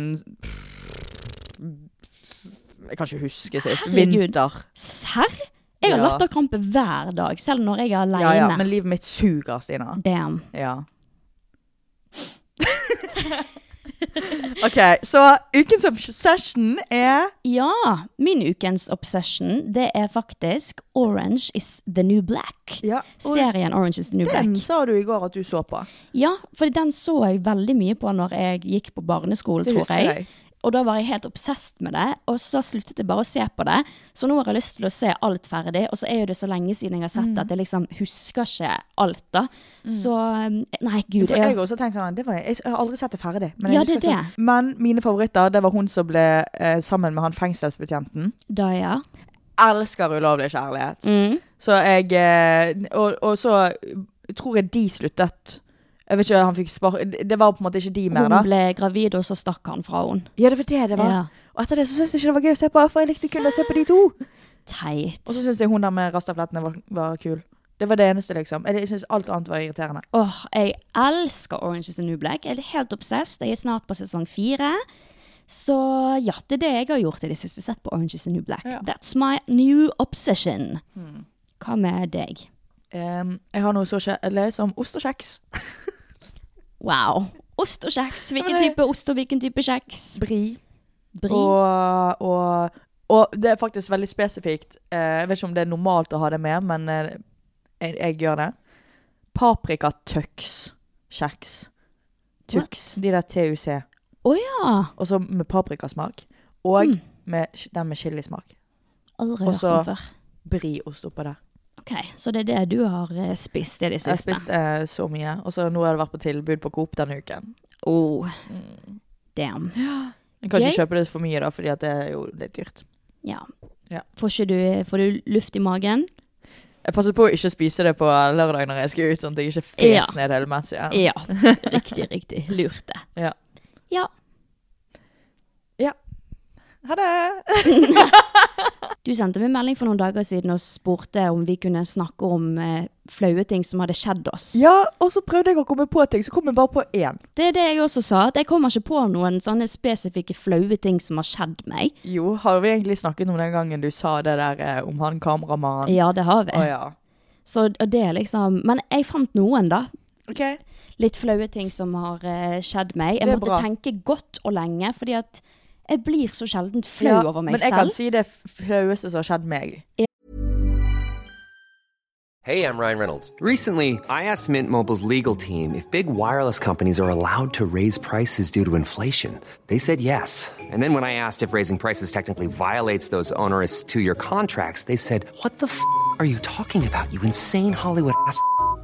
Speaker 2: Jeg kan ikke huske sist.
Speaker 1: Herregud.
Speaker 2: Vinter.
Speaker 1: Serr? Jeg har
Speaker 2: Ja.
Speaker 1: latterkrampe hver dag, selv når jeg er
Speaker 2: Ja,
Speaker 1: aleine.
Speaker 2: ja, men livet mitt suger, Stina.
Speaker 1: Damn.
Speaker 2: Ja. ok, så ukens obsession er
Speaker 1: Ja, min ukens obsession det er faktisk Orange is the new black.
Speaker 2: ja, og
Speaker 1: Serien Orange is the new
Speaker 2: Den
Speaker 1: black.
Speaker 2: sa du i går at du så på.
Speaker 1: Ja, for den så jeg veldig mye på når jeg gikk på barneskolen,
Speaker 2: Det
Speaker 1: tror
Speaker 2: husker
Speaker 1: jeg.
Speaker 2: jeg.
Speaker 1: Og da var jeg helt obsesst med det, og så sluttet jeg bare å se på det. Så nå har jeg lyst til å se alt ferdig, og så er jo det så lenge siden jeg har
Speaker 2: Mm.
Speaker 1: sett det at jeg liksom husker ikke alt, da. Så eh, Nei, gud.
Speaker 2: For jeg
Speaker 1: Jeg,
Speaker 2: har også tenkt sånn, det var, jeg jeg har aldri sett det ferdig. Men,
Speaker 1: Ja,
Speaker 2: jeg husker
Speaker 1: det er
Speaker 2: sånn- men mine favoritter, det var hun som ble eh, sammen med han fengselsbetjenten.
Speaker 1: da, ja.
Speaker 2: Elsker ulovlig kjærlighet.
Speaker 1: Mm.
Speaker 2: Så jeg eh, og, og så tror jeg de sluttet. Jeg vet ikke, han fikk spar... Det var på en måte ikke de mer,
Speaker 1: Hun
Speaker 2: da.
Speaker 1: ble gravid, og så stakk han fra henne.
Speaker 2: Ja, det var det det var.
Speaker 1: Ja.
Speaker 2: Og etter det så syntes jeg ikke det var gøy å se på, for jeg likte kun å se på de to.
Speaker 1: Teit.
Speaker 2: Og så syns jeg hun der med rastaflettene var, var kul. Det var det eneste, liksom. Jeg syns alt annet var irriterende.
Speaker 1: Åh, jeg elsker Orange is the New Black. Jeg er helt obsessed. Jeg er snart på sesong fire. Så ja, det er det jeg har gjort i det siste. Sett på Orange is the New Black. That's my new obsession.
Speaker 2: Hmm.
Speaker 1: Hva med deg?
Speaker 2: Ehm, jeg har noe så kjedelig som ost og kjeks.
Speaker 1: Wow. Ost og kjeks.
Speaker 2: Ja,
Speaker 1: Hvilken
Speaker 2: men det-
Speaker 1: type ost og hvilken type kjeks?
Speaker 2: Bri.
Speaker 1: Bri.
Speaker 2: Og, og, og det er faktisk veldig spesifikt. Eh, jeg vet ikke om det er normalt å ha det med, men eh, jeg, jeg gjør det. Paprikatux. Kjeks. Tux.
Speaker 1: What?
Speaker 2: De der TUC.
Speaker 1: Å ja.
Speaker 2: Og så med paprikasmak. Og med, ch- den med chilismak.
Speaker 1: Aldri
Speaker 2: Og
Speaker 1: hørt
Speaker 2: så-
Speaker 1: om før.
Speaker 2: Briost oppå der.
Speaker 1: Ok, Så det er det du har eh, spist i det
Speaker 2: Jeg har
Speaker 1: siste?
Speaker 2: spist eh, så mye, og så nå har det vært på tilbud på Coop denne uken.
Speaker 1: Oh.
Speaker 2: Hmm.
Speaker 1: Damn.
Speaker 2: Jeg kan
Speaker 1: Gøy.
Speaker 2: ikke kjøpe det for mye, da, fordi at det er jo litt dyrt.
Speaker 1: Ja.
Speaker 2: Ja.
Speaker 1: Får, ikke du, får du luft i magen?
Speaker 2: Jeg passet på å ikke spise det på lørdag når jeg skulle ut, sånn at jeg ikke fes
Speaker 1: Ja.
Speaker 2: ned hele mens igjen.
Speaker 1: Ja. Riktig, riktig. Lurt det.
Speaker 2: Ja.
Speaker 1: Ja.
Speaker 2: Ha det!
Speaker 1: Du sendte meg en melding for noen dager siden og spurte om vi kunne snakke om eh, flaue ting som hadde skjedd oss.
Speaker 2: Ja, og så prøvde jeg å komme på ting, så kom jeg bare på én.
Speaker 1: Det er det jeg også sa, at jeg kommer ikke på noen sånne spesifikke flaue ting som har skjedd meg.
Speaker 2: Jo, har vi egentlig snakket om den gangen du sa det der eh, om han kameramannen?
Speaker 1: Ja, det har vi.
Speaker 2: Å ja.
Speaker 1: Så og det er liksom Men jeg fant noen, da.
Speaker 2: OK.
Speaker 1: Litt flaue ting som har eh, skjedd meg. Jeg
Speaker 2: Det er
Speaker 1: måtte
Speaker 2: bra.
Speaker 1: tenke godt og lenge, fordi at jeg blir så sjelden flau
Speaker 2: Ja,
Speaker 1: over meg
Speaker 2: men jeg
Speaker 1: selv.
Speaker 2: kan si det f- flaueste som har skjedd meg.
Speaker 3: Hey, I'm Ryan Reynolds. Recently, I asked Mint Mobile's legal team if big wireless companies are allowed to raise prices due to inflation. They said yes. And then when I asked if raising prices technically violates those onerous two year contracts, they said, What the f are you talking about, you insane Hollywood ass? f-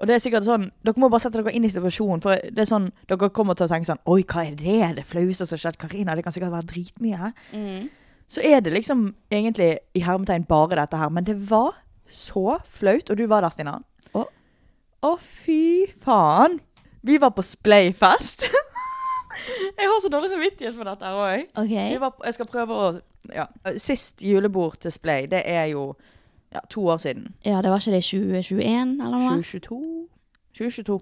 Speaker 2: Og det er sikkert sånn, Dere må bare sette dere inn i situasjonen. For det er sånn, Dere kommer til å tenke sånn Oi, hva er det det flaueste som har skjedd Karina? Det kan sikkert være dritmye. Så er det liksom egentlig i hermetegn bare dette her. Men det var så flaut. Og du var der, Stina.
Speaker 1: Å.
Speaker 2: Å, fy faen. Vi var på Splayfest. jeg har så dårlig samvittighet for dette her òg.
Speaker 1: OK.
Speaker 2: Vi var, på- jeg skal prøve å ja. Sist julebord til Splay, det er jo ja, to år siden.
Speaker 1: Ja, det var ikke det i 2021 eller noe?
Speaker 2: 2022? 2022.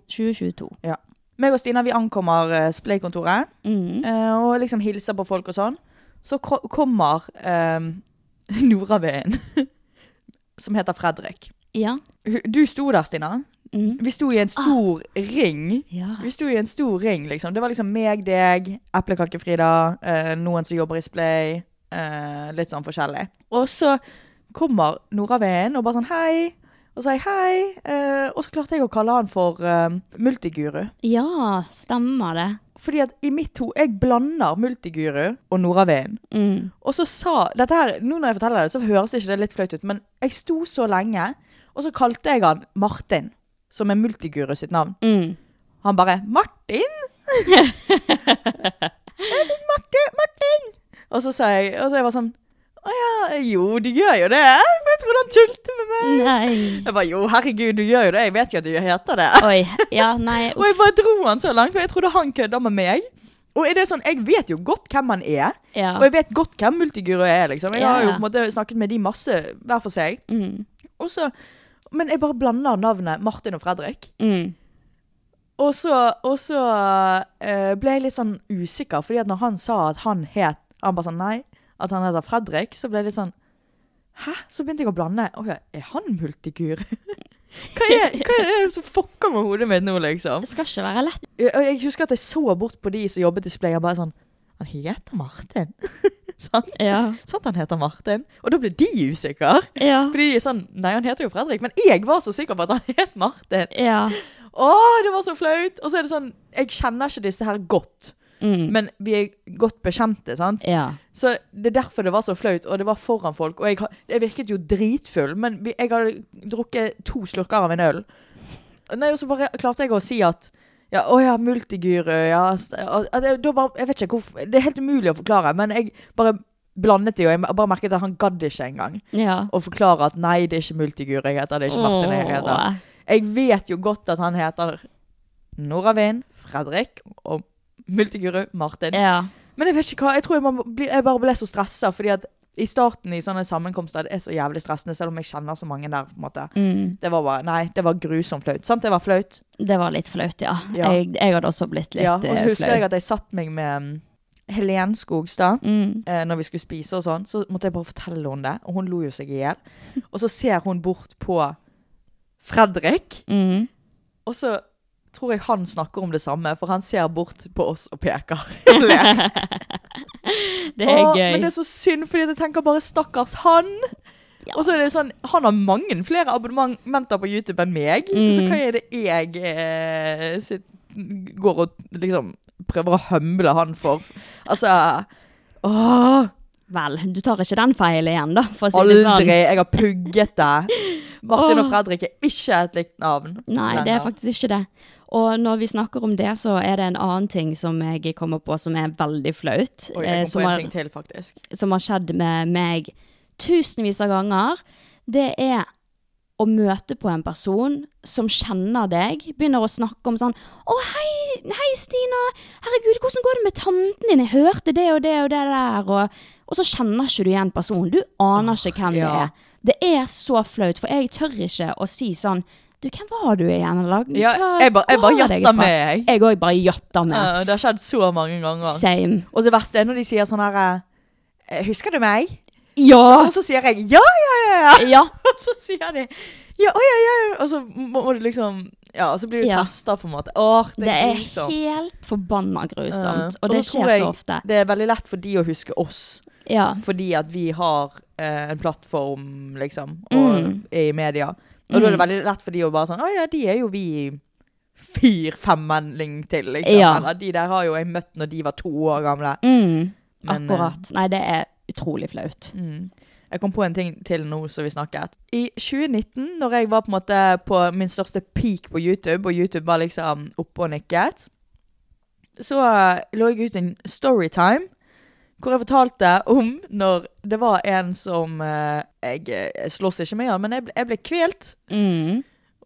Speaker 1: 2022.
Speaker 2: Meg og Stina vi ankommer eh, Splay-kontoret
Speaker 1: Mm.
Speaker 2: eh, og liksom hilser på folk og sånn. Så kro- kommer eh, Nora ved en som heter Fredrik.
Speaker 1: Ja.
Speaker 2: Hu- Du sto der, Stina.
Speaker 1: Mm.
Speaker 2: Vi sto i en stor ring.
Speaker 1: Ja.
Speaker 2: Vi sto i en stor ring, liksom. Det var liksom meg, deg, Eplekake-Frida, eh, noen som jobber i Splay. Eh, litt sånn forskjellig. Og så kommer Nora Veen og bare sånn hei. Og så sa jeg hei. Eh, og så klarte jeg å kalle han for eh, multiguru.
Speaker 1: ja, stemmer det.
Speaker 2: Fordi at i mitt hode Jeg blander multiguru og Nora Veen.
Speaker 1: Mm.
Speaker 2: Og så sa dette her, Nå når jeg forteller det, så høres ikke det litt flaut ut, men jeg sto så lenge, og så kalte jeg han Martin, som er multiguru sitt navn.
Speaker 1: Mm.
Speaker 2: Han bare 'Martin?' jeg sier, Martin, Martin! Og så sa jeg Og så jeg var sånn 'Å ja, jo, du gjør jo det.' For jeg trodde han tulte med meg.
Speaker 1: Mm. Nei.
Speaker 2: Jeg bare 'Jo, herregud, du gjør jo det. Jeg vet jo at du heter det.'
Speaker 1: Oi. Ja, nei.
Speaker 2: Og jeg bare dro han så langt, for jeg trodde han kødda med meg. Og er det sånn, Jeg vet jo godt hvem han er,
Speaker 1: Ja.
Speaker 2: og jeg vet godt hvem Multiguru er. liksom. Jeg har jo
Speaker 1: Ja.
Speaker 2: på en måte snakket med de masse hver for seg.
Speaker 1: Mm.
Speaker 2: Og så, men jeg bare blander navnet Martin og Fredrik.
Speaker 1: Mm.
Speaker 2: Og så, og så eh, ble jeg litt sånn usikker, fordi at når han sa at han het Han bare sånn nei, at han heter Fredrik, så ble jeg litt sånn Hæ? Så begynte jeg å blande. Å ja, er han multikur? hva, er, hva er det som fucker med hodet mitt nå, liksom?
Speaker 1: Det skal ikke være lett.
Speaker 2: Jeg, og jeg husker at jeg så bort på de som jobbet i Splay, og bare sånn Han heter Martin. Sant?
Speaker 1: Ja.
Speaker 2: Sant han heter Martin? Og da ble de usikre.
Speaker 1: Ja.
Speaker 2: Fordi de er sånn Nei, han heter jo Fredrik, men jeg var så sikker på at han het Martin.
Speaker 1: Ja.
Speaker 2: Å, det var så flaut! Og så er det sånn Jeg kjenner ikke disse her godt,
Speaker 1: Mm.
Speaker 2: men vi er godt bekjente, sant?
Speaker 1: Ja.
Speaker 2: Så det er derfor det var så flaut, og det var foran folk. Og jeg, har- jeg virket jo dritfull, men vi, jeg hadde drukket to slurker av en øl. Nei, og så bare klarte jeg å si at ja, å ja, multiguru, ja. st- og- at jeg- Da bare, jeg vet ikke hvorfor, Det er helt umulig å forklare, men jeg bare blandet de, og jeg bare merket at han gadd ikke engang
Speaker 1: Ja.
Speaker 2: å forklare at nei, det er ikke multiguru jeg heter, det er ikke Martin jeg heter.
Speaker 1: Åh.
Speaker 2: Jeg vet jo godt at han heter Noravind, Fredrik og multiguru Martin.
Speaker 1: Ja.
Speaker 2: Men jeg vet ikke hva, jeg tror jeg, må bli, jeg bare ble så stressa, fordi at i starten i sånne sammenkomster det er så jævlig stressende, selv om jeg kjenner så mange der. på en måte.
Speaker 1: Mm.
Speaker 2: Det var bare, nei, det var grusomt flaut. Sant, det var flaut?
Speaker 1: Det var litt flaut, ja.
Speaker 2: Ja.
Speaker 1: Jeg, jeg hadde også blitt litt
Speaker 2: ja, Og så
Speaker 1: eh,
Speaker 2: husker
Speaker 1: flau.
Speaker 2: jeg at jeg satt meg med mm, Helen Skogstad.
Speaker 1: Mm.
Speaker 2: eh, når vi skulle spise og sånn, så måtte jeg bare fortelle henne det. Og hun lo jo seg i hjel. Og så ser hun bort på Fredrik,
Speaker 1: Mm.
Speaker 2: og så tror jeg han snakker om det samme, for han ser bort på oss og peker. Og ler.
Speaker 1: Det er
Speaker 2: Åh,
Speaker 1: gøy.
Speaker 2: Men det er så synd, fordi at jeg tenker bare stakkars han.
Speaker 1: Ja.
Speaker 2: Og så er det sånn, han har mange flere abonnementer på YouTube enn meg,
Speaker 1: Mm.
Speaker 2: så hva er det jeg eh, sitt, går og liksom prøver å hømle han for? Altså, åh.
Speaker 1: Vel, du tar ikke den feil igjen, da, for å si det sånn.
Speaker 2: Aldri! Jeg har pugget det. Martin og
Speaker 1: Åh.
Speaker 2: Fredrik er ikke et likt navn.
Speaker 1: Nei, det er faktisk ikke det. Og når vi snakker om det, så er det en annen ting som jeg kommer på som er veldig flaut.
Speaker 2: Oi,
Speaker 1: eh,
Speaker 2: jeg kom
Speaker 1: som,
Speaker 2: på en
Speaker 1: har,
Speaker 2: ting til, faktisk.
Speaker 1: som har skjedd med meg tusenvis av ganger. Det er å møte på en person som kjenner deg, begynner å snakke om sånn Å, hei, hei, Stina. Herregud, hvordan går det med tanten din? Jeg hørte det og det og det der. Og, og så kjenner ikke du igjen personen. Du aner ikke hvem
Speaker 2: ja.
Speaker 1: det er. Det er så flaut, for jeg tør ikke å si sånn Du, hvem var du igjen? Eller,
Speaker 2: Ja,
Speaker 1: hva
Speaker 2: jeg bare- jeg
Speaker 1: går
Speaker 2: bare
Speaker 1: det fra?»
Speaker 2: jatter med, jeg.
Speaker 1: Jeg òg bare jatter med.
Speaker 2: Ja, det har skjedd så mange ganger.
Speaker 1: Same.
Speaker 2: Og det verste er når de sier sånn her eh, Husker du meg?
Speaker 1: Ja!
Speaker 2: Og så sier jeg ja, ja, ja, ja.
Speaker 1: Ja.
Speaker 2: Og så sier de ja, å, ja, ja. Og så må, må du liksom Ja, og så blir du
Speaker 1: Ja.
Speaker 2: testa, på en måte. Åh, det,
Speaker 1: Det er
Speaker 2: grusomt.
Speaker 1: helt forbanna grusomt,
Speaker 2: Eh,
Speaker 1: og det
Speaker 2: så tror
Speaker 1: skjer
Speaker 2: jeg
Speaker 1: så ofte.
Speaker 2: Det er veldig lett for de å huske oss,
Speaker 1: Ja.
Speaker 2: fordi at vi har eh, en plattform, liksom, og
Speaker 1: Mm.
Speaker 2: er i media. Og da er det veldig lett for de å bare sånn Å ja, de er jo vi fire-fem menning til, liksom.
Speaker 1: Ja.
Speaker 2: Eller de der har jo jeg møtt når de var to år gamle.
Speaker 1: Mm,
Speaker 2: Men, eh,
Speaker 1: akkurat. Nei, det er utrolig flaut.
Speaker 2: Mm. Jeg kom på en ting til nå som vi snakket. I 2019, når jeg var på, en måte på min største peak på YouTube, og YouTube var liksom oppe og nikket, så eh, lå jeg ut en storytime hvor jeg fortalte om når det var en som eh, Jeg eh, slåss ikke med han, men jeg ble, jeg ble kvelt.
Speaker 1: Mm.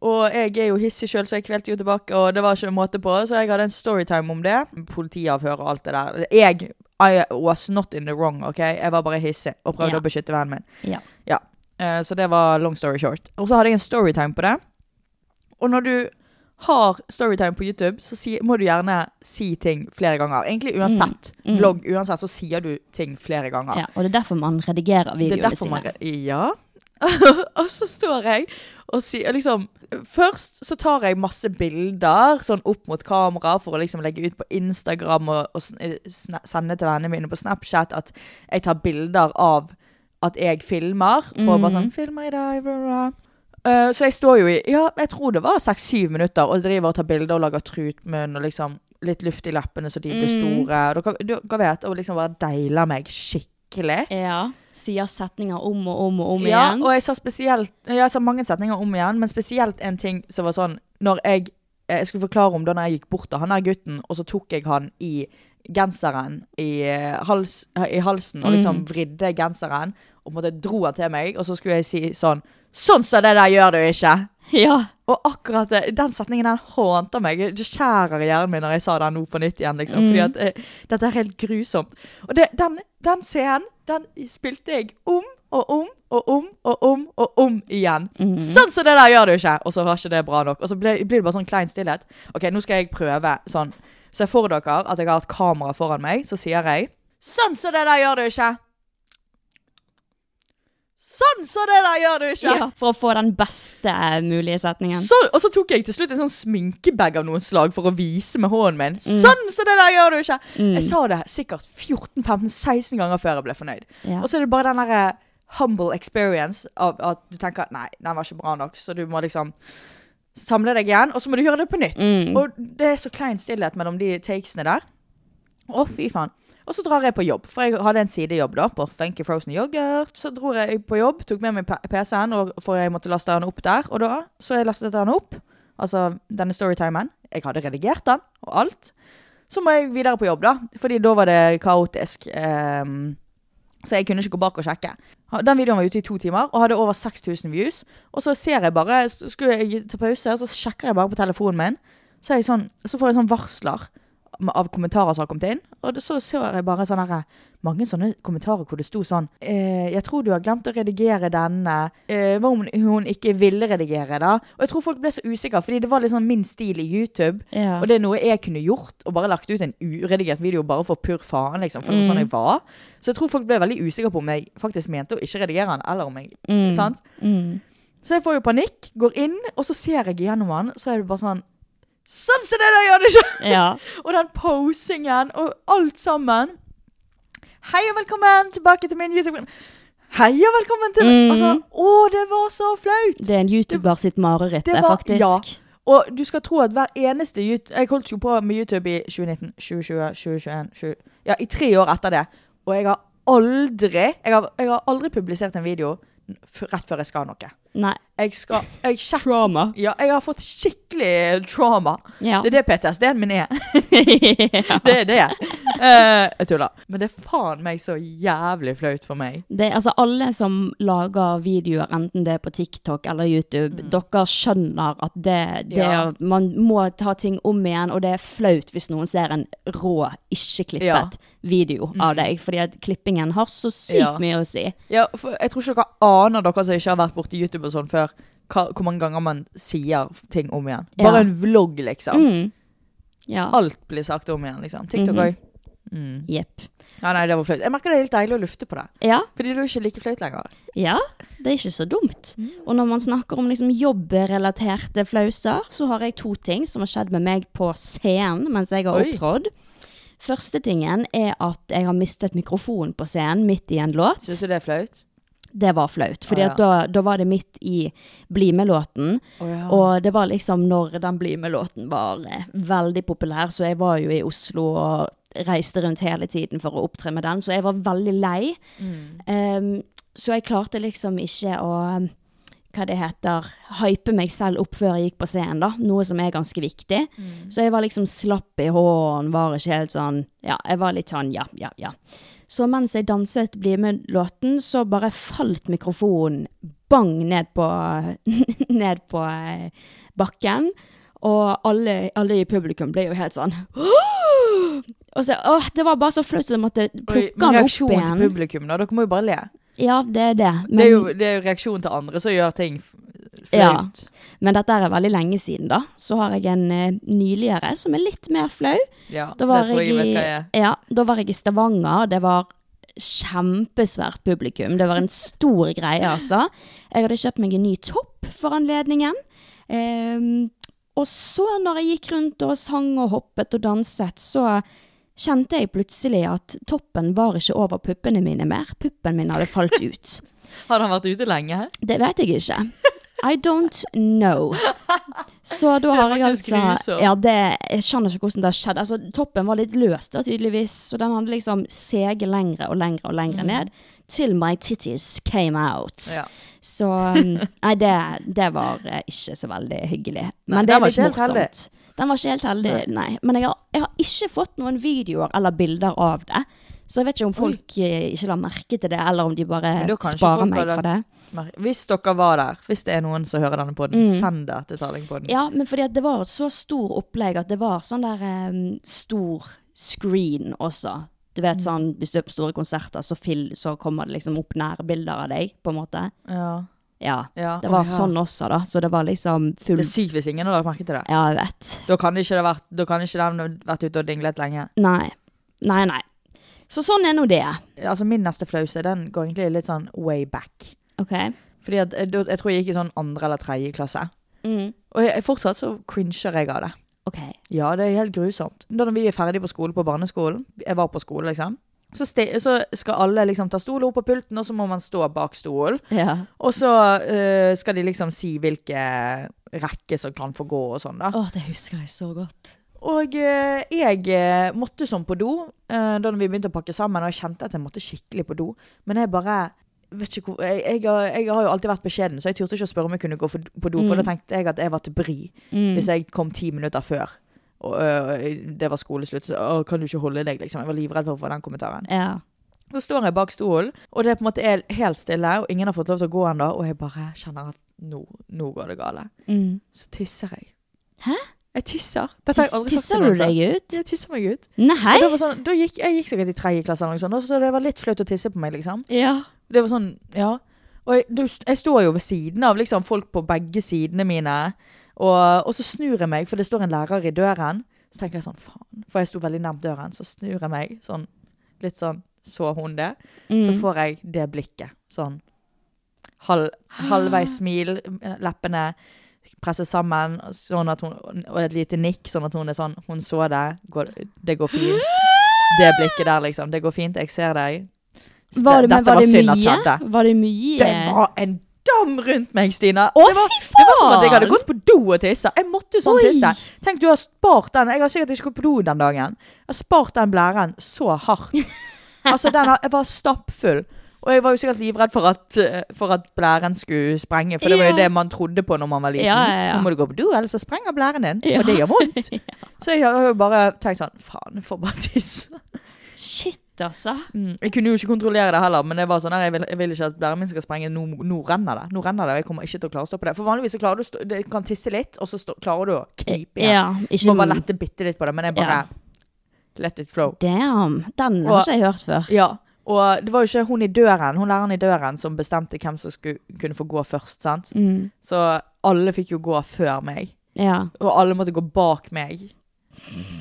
Speaker 2: Og jeg er jo hissig sjøl, så jeg kvelte jo tilbake, og det var ikke en måte på. Så jeg hadde en storytime om det. Politiavhør og alt det der. Jeg I was not in the wrong, OK? Jeg var bare hissig og prøvde
Speaker 1: Ja.
Speaker 2: å beskytte vennen min.
Speaker 1: Ja.
Speaker 2: Eh, så det var long story short. Og så hadde jeg en storytime på det. Og når du har storytime på YouTube, så si, må du gjerne si ting flere ganger. Egentlig uansett.
Speaker 1: Mm.
Speaker 2: Vlogg uansett, så sier du ting flere ganger.
Speaker 1: ja. Og det er derfor man redigerer videoene sine.
Speaker 2: Det er derfor man Ja. og så står jeg og sier liksom Først så tar jeg masse bilder sånn opp mot kamera for å liksom legge ut på Instagram og, og sn- sna- sende til vennene mine på Snapchat at jeg tar bilder av at jeg filmer. For
Speaker 1: Mm.
Speaker 2: bare sånn 'Filmer i dag', bla, bla. bla». Eh, så jeg står jo i Ja, jeg tror det var seks-syv minutter og driver og tar bilder og lager trutmunn og liksom litt luft i leppene så de blir
Speaker 1: Mm.
Speaker 2: store. Og dere, dere vet, og liksom bare deiler meg skikkelig.
Speaker 1: Ja. Sier setninger om og om og om
Speaker 2: Ja,
Speaker 1: igjen.
Speaker 2: og jeg sa, spesielt, jeg sa mange setninger om igjen, men spesielt en ting som var sånn Når jeg, eh, jeg skulle forklare om da når jeg gikk bort til han der gutten, og så tok jeg han i genseren i, eh, hals, i halsen og
Speaker 1: Mm.
Speaker 2: liksom vridde genseren og på en måte dro han til meg, og så skulle jeg si sånn Sånn som det der gjør du ikke!
Speaker 1: ja.
Speaker 2: Og akkurat det, den setningen den hånter meg. Det skjærer i hjernen min når jeg sa den nå på nytt igjen. liksom, fordi at eh, Dette er helt grusomt. Og det, den, den scenen den spilte jeg om og om og om og om og om igjen. Sånn som det der gjør du ikke! Og så var ikke det bra nok. Og så ble- blir det bare sånn klein stillhet. OK, nå skal jeg prøve sånn. Se for dere at jeg har et kamera foran meg, så sier jeg Sånn som det der gjør du ikke! Sånn som det der gjør du ikke!
Speaker 1: ja. For å få den beste eh, mulige setningen.
Speaker 2: Så, og så tok jeg til slutt en sånn sminkebag av noen slag for å vise med hånden min. Sånn så det der gjør du ikke! Jeg sa det sikkert 14-15-16 ganger før jeg ble fornøyd.
Speaker 1: Ja.
Speaker 2: Og så er det bare den derre humble experience av at du tenker at nei, den var ikke bra nok, så du må liksom samle deg igjen, og så må du gjøre det på nytt. Og det er så klein stillhet mellom de takesene der. Å, fy faen. Og så drar jeg på jobb, for jeg hadde en sidejobb da, på Funky Frozen Yoghurt. Så dro jeg på jobb, tok med meg P- PC-en, og- for jeg måtte laste den opp der. Og da, så jeg lastet den opp, altså denne storytimen. Jeg hadde redigert den, og alt. Så må jeg videre på jobb da, fordi da var det kaotisk. ehm, så jeg kunne ikke gå bak og sjekke. Ha- Den videoen var ute i to timer, og hadde over 6000 views. Og så ser jeg bare, s- skulle jeg ta pause, og så sjekker jeg bare på telefonen min. Så, er jeg sånn, så får jeg sånn varsler med- av kommentarer som har kommet inn. Og det- så ser jeg bare sånne her, mange sånne kommentarer hvor det sto sånn eh, 'Jeg tror du har glemt å redigere denne.' Eh, hva om hun ikke ville redigere, da? Og jeg tror folk ble så usikre, fordi det var liksom min stil i YouTube.
Speaker 1: Ja.
Speaker 2: Og det er noe jeg kunne gjort, og bare lagt ut en uredigert video bare for pur faen, liksom. For det var sånn jeg var. Så jeg tror folk ble veldig usikre på om jeg faktisk mente å ikke redigere den, eller om jeg Sant?
Speaker 1: Mm.
Speaker 2: Så jeg får jo panikk, går inn, og så ser jeg gjennom den, så er det bare sånn Sånn som det der gjør du ikke!
Speaker 1: Ja.
Speaker 2: Og den posingen og alt sammen. Hei og velkommen tilbake til min YouTube. Hei og velkommen til Altså, å, det var så flaut!
Speaker 1: Det er en YouTuber sitt mareritt, det,
Speaker 2: var-
Speaker 1: faktisk.
Speaker 2: Ja. Og du skal tro at hver eneste YouTube Jeg holdt jo på med YouTube i 2019, 2020, 2021 20, Ja, i tre år etter det. Og jeg har aldri Jeg har, jeg har aldri publisert en video f rett før jeg skal noe.
Speaker 1: Nei.
Speaker 2: Jeg skal jeg sjek-
Speaker 1: Trauma.
Speaker 2: Ja, jeg har fått skikkelig trauma.
Speaker 1: Ja.
Speaker 2: Det er det PTSD-en min er.
Speaker 1: ja.
Speaker 2: Det er det. Eh, jeg tuller. Men det er faen meg så jævlig flaut for meg.
Speaker 1: Det, altså alle som lager videoer, enten det er på TikTok eller YouTube, dere skjønner at det, det
Speaker 2: Mm. Ja.
Speaker 1: er- man må ta ting om igjen, og det er flaut hvis noen ser en rå, ikke-klippet video av deg, fordi at klippingen har så sykt
Speaker 2: Mm. Ja.
Speaker 1: mye å si.
Speaker 2: Ja, for jeg tror ikke dere aner, dere som ikke har vært borti YouTube og sånn før, hva, hvor mange ganger man sier ting om igjen.
Speaker 1: Ja. Mm.
Speaker 2: Bare en vlogg, liksom.
Speaker 1: Ja. Mhm.
Speaker 2: Alt blir sagt om igjen, liksom. TikTok òg. Mm.
Speaker 1: Jepp.
Speaker 2: Ja, nei, det var flaut. Jeg merker det er litt deilig å lufte på det.
Speaker 1: Ja,
Speaker 2: Fordi det er jo ikke like flaut lenger.
Speaker 1: ja, det er ikke så dumt.
Speaker 2: Mm.
Speaker 1: Og når man snakker om liksom jobbrelaterte flauser, så har jeg to ting som har skjedd med meg på scenen mens jeg har
Speaker 2: Oi.
Speaker 1: opptrådt. Første tingen er at jeg har mistet mikrofonen på scenen midt i en låt.
Speaker 2: Syns du det er flaut?
Speaker 1: Det var flaut, fordi
Speaker 2: Å, ja.
Speaker 1: at da, da var det midt i Bli med-låten.
Speaker 2: Og
Speaker 1: Og det var liksom når den Bli med-låten var eh, veldig populær, så jeg var jo i Oslo og reiste rundt hele tiden for å opptre med den, så jeg var veldig lei. Ehm, så jeg klarte liksom ikke å eh, hva det heter, hype meg selv opp før jeg gikk på scenen, da. Noe som er ganske viktig. Så jeg var liksom slapp i hånden, var ikke helt sånn Ja, jeg var litt sånn ja, ja, ja. Så mens jeg danset Bli med-låten, så bare falt mikrofonen bang ned på, ned på eh, bakken. Og alle, alle i publikum ble jo helt sånn «Åh!» Og så, åh, Det var bare så flaut at jeg måtte plukke
Speaker 2: men
Speaker 1: den opp
Speaker 2: reaksjonen til
Speaker 1: igjen.
Speaker 2: publikum, da. Dere må jo bare le.
Speaker 1: Ja, det er det. Men,
Speaker 2: det, er jo, det er jo reaksjonen til andre som gjør ting f-
Speaker 1: Ja.
Speaker 2: flaut.
Speaker 1: men dette er veldig lenge siden, da. Så har jeg en eh, nyligere som er litt mer flau.
Speaker 2: Ja,
Speaker 1: Da
Speaker 2: det
Speaker 1: var,
Speaker 2: tror jeg
Speaker 1: jeg
Speaker 2: jeg vet
Speaker 1: i,
Speaker 2: hva jeg er.
Speaker 1: ja, da var jeg i Stavanger, og det var kjempesvært publikum. Det var en stor greie, altså. Jeg hadde kjøpt meg en ny topp for anledningen. Ehm, og så, når jeg gikk rundt og sang og hoppet og danset, så kjente jeg plutselig at toppen var ikke over puppene mine mer. Puppen min hadde falt ut.
Speaker 2: Hadde han vært ute lenge?
Speaker 1: Det vet jeg ikke. I don't know. Så da har
Speaker 2: Det er
Speaker 1: jeg
Speaker 2: faktisk
Speaker 1: altså
Speaker 2: grusomt.
Speaker 1: ja, det, Jeg skjønner ikke hvordan det har skjedd. Altså, toppen var litt løs, da, tydeligvis. Så den hadde liksom seget lengre og lengre og lengre ned. Til my titties came out.
Speaker 2: Mhm. Ja.
Speaker 1: Så um, Nei, det, det var eh, ikke så veldig hyggelig. Men
Speaker 2: Nei,
Speaker 1: det
Speaker 2: den
Speaker 1: er
Speaker 2: var
Speaker 1: litt
Speaker 2: ikke helt
Speaker 1: morsomt.
Speaker 2: heldig.
Speaker 1: Den var ikke helt heldig, nei. Men jeg har, jeg har ikke fått noen videoer eller bilder av det. Så jeg vet ikke om folk eh, ikke la merke til det, eller om de bare
Speaker 2: Men da kanskje
Speaker 1: sparer
Speaker 2: folk
Speaker 1: meg
Speaker 2: hadde-
Speaker 1: for det.
Speaker 2: Mer- Hvis dere var der, hvis det er noen som hører denne podden, send det til Tallingpodden.
Speaker 1: Mm. Ja, men fordi at det var et så stor opplegg at det var sånn der em, stor screen også. Du vet
Speaker 2: Mm.
Speaker 1: sånn, hvis du er på store konserter, så, fil, så kommer det liksom opp nærbilder av deg, på en måte.
Speaker 2: Ja.
Speaker 1: Ja,
Speaker 2: Ja,
Speaker 1: det var
Speaker 2: å ja.
Speaker 1: sånn også da, så det var liksom full...
Speaker 2: Det er sykt hvis ingen har lagt merke til det.
Speaker 1: Ja, jeg vet.
Speaker 2: Da kan ikke, det vært, da kan ikke den ha vært ute og dinglet lenge.
Speaker 1: Nei, nei, nei. Så sånn er nå det.
Speaker 2: Altså Min neste flause den går egentlig litt sånn way back.
Speaker 1: Ok.
Speaker 2: Fordi at, eh, da- Jeg tror jeg gikk i sånn andre eller tredje klasse.
Speaker 1: Mm.
Speaker 2: Og jeg, fortsatt så cringer jeg av det.
Speaker 1: Ok.
Speaker 2: Ja, det er helt grusomt. Da når vi er ferdige på skole på barneskolen, jeg var på skole liksom, så, ste så skal alle liksom ta stolen opp på pulten, og så må man stå bak stolen.
Speaker 1: Ja.
Speaker 2: Og så eh, skal de liksom si hvilke rekke som kan få gå og sånn da.
Speaker 1: Å, det husker jeg så godt.
Speaker 2: Og eh, jeg eh, måtte sånn på do eh, da vi begynte å pakke sammen, og jeg kjente at jeg måtte skikkelig på do. Men jeg bare vet ikke hvor, jeg, jeg, har, jeg har jo alltid vært beskjeden, så jeg turte ikke å spørre om jeg kunne gå for, på do, for
Speaker 1: Mm.
Speaker 2: da tenkte jeg at jeg var til bry hvis jeg kom ti minutter før. Og øh, det var skoleslutt. Så «Å, kan du ikke holde deg, liksom? Jeg var livredd for å få den kommentaren.
Speaker 1: Ja.
Speaker 2: Så står jeg bak stolen, og det er på en måte er helt stille, og ingen har fått lov til å gå ennå, og jeg bare kjenner at nå, nå går det gale.
Speaker 1: Mm.
Speaker 2: Så tisser jeg.
Speaker 1: Hæ?
Speaker 2: Jeg tisser. Dette har jeg aldri sagt til
Speaker 1: Tisser du
Speaker 2: noen før.
Speaker 1: deg ut?
Speaker 2: Jeg tisser meg ut.
Speaker 1: Nei?
Speaker 2: Og det var sånn, da gikk, jeg gikk sikkert i tredje klasse, eller noe sånt, og så det var litt flaut å tisse på meg. liksom.
Speaker 1: Ja.
Speaker 2: Det var sånn, ja. Og jeg, du, jeg står jo ved siden av liksom, folk på begge sidene mine, og, og så snur jeg meg, for det står en lærer i døren. Så tenker jeg sånn, faen. For jeg sto veldig nærmt døren, så snur jeg meg sånn, litt sånn, så hun det?
Speaker 1: Mm.
Speaker 2: Så får jeg det blikket. Sånn halv,
Speaker 1: Ah.
Speaker 2: halvveis smil, leppene presset sammen, sånn at hun, og et lite nikk, sånn at hun er sånn Hun så det. Går, det går fint. Det blikket der, liksom. Det går fint. Jeg ser deg.
Speaker 1: Var det, men
Speaker 2: Dette
Speaker 1: var det
Speaker 2: synd at
Speaker 1: mye?
Speaker 2: skjedde.
Speaker 1: Var det mye?
Speaker 2: Det var en dam rundt meg, Stina.
Speaker 1: Å,
Speaker 2: det, var,
Speaker 1: fy
Speaker 2: det var som at jeg
Speaker 1: faen!
Speaker 2: hadde gått på do og tissa. Jeg måtte jo sånn
Speaker 1: Oi.
Speaker 2: tisse. Tenk, du har spart den. Jeg har sikkert ikke gått på do den dagen. Jeg har spart den blæren så hardt. Altså, den har, jeg var stappfull. Og jeg var jo sikkert livredd for at, eh, for at blæren skulle sprenge, for det var
Speaker 1: Ja.
Speaker 2: jo det man trodde på når man var liten.
Speaker 1: Ja, ja, ja.
Speaker 2: Nå må du gå på do, ellers så sprenger blæren din,
Speaker 1: Ja.
Speaker 2: og det gjør vondt. Så jeg har jo bare tenkt sånn, faen, jeg får bare tisse.
Speaker 1: Shit, altså.
Speaker 2: Mm. Jeg kunne jo ikke kontrollere det heller, men det var sånn her, jeg, vil, jeg vil ikke at blæren min skal sprenge. Nå, nå renner det. Nå renner det, og jeg kommer ikke til å klare å stoppe det. For vanligvis så klarer du, å stå- det kan tisse litt, og så stå, klarer du å knipe igjen.
Speaker 1: Ja,
Speaker 2: Du
Speaker 1: ikke
Speaker 2: må bare lette bitte litt på det, men jeg bare
Speaker 1: Ja.
Speaker 2: let it flow.
Speaker 1: Damn, den har
Speaker 2: Og-
Speaker 1: ikke jeg hørt før.
Speaker 2: Ja, og det var jo ikke hun i døren, hun læreren i døren som bestemte hvem som skulle kunne få gå først, sant?
Speaker 1: Mm,
Speaker 2: Så alle fikk jo gå før meg,
Speaker 1: ja.
Speaker 2: og alle måtte gå bak meg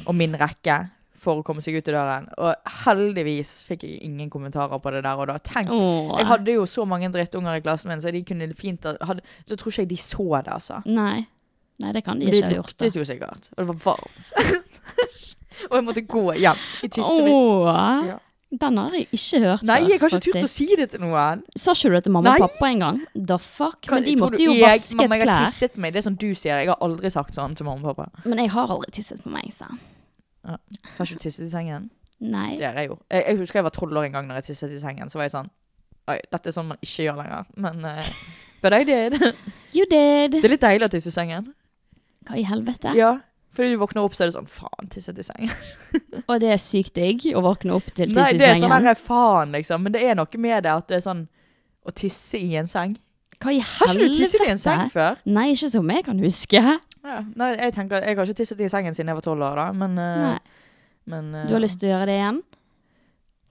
Speaker 2: og min rekke for å komme seg ut i døren. Og heldigvis fikk jeg ingen kommentarer på det der og da. Tenk,
Speaker 1: Åh.
Speaker 2: jeg hadde jo så mange drittunger i klassen min, så de kunne fint ha- hadde, Så tror ikke jeg de så det, altså.
Speaker 1: Nei. Nei, det kan de
Speaker 2: Men det
Speaker 1: ikke ha gjort. da.
Speaker 2: luktet jo sikkert. Og det var varmt. og jeg måtte gå hjem i tisset mitt.
Speaker 1: Åh,
Speaker 2: Ja.
Speaker 1: Den har jeg ikke hørt
Speaker 2: Nei,
Speaker 1: før,
Speaker 2: jeg har ikke turt å
Speaker 1: faktisk.
Speaker 2: si det til noen.
Speaker 1: Sa ikke du det til mamma
Speaker 2: Nei.
Speaker 1: og pappa engang? The fuck? Men de
Speaker 2: Tror
Speaker 1: måtte
Speaker 2: du
Speaker 1: jo
Speaker 2: jeg-
Speaker 1: vaske
Speaker 2: mamma,
Speaker 1: et
Speaker 2: jeg har
Speaker 1: klær.
Speaker 2: tisset på meg. Det er sånn du sier. Jeg har aldri sagt sånn til mamma og pappa.
Speaker 1: Men jeg har aldri tisset på meg, sa han.
Speaker 2: Har ikke du tisset i sengen?
Speaker 1: Nei.
Speaker 2: Det har jeg jo. Jeg, jeg husker jeg var tolv år en gang når jeg tisset i sengen. Så var jeg sånn Oi, dette er sånn man ikke gjør lenger. Men eh, But I did.
Speaker 1: You did.
Speaker 2: Det er litt deilig å tisse i sengen.
Speaker 1: Hva i helvete?
Speaker 2: Ja. Fordi du våkner opp, så er det sånn Faen, tisset i sengen.
Speaker 1: Og det er sykt digg å våkne opp til
Speaker 2: Nei,
Speaker 1: tiss i
Speaker 2: det er sånn
Speaker 1: sengen.
Speaker 2: her faen, liksom. Men det er noe med det at det er sånn Å tisse i en seng.
Speaker 1: Hva i
Speaker 2: Har ikke du tisset i
Speaker 1: helvete?
Speaker 2: en seng før?
Speaker 1: Nei, ikke som jeg kan huske.
Speaker 2: Ja. Nei, jeg tenker Jeg har ikke tisset i sengen siden jeg var tolv år, da. Men, eh,
Speaker 1: Nei.
Speaker 2: men eh,
Speaker 1: Du har lyst til å gjøre det igjen?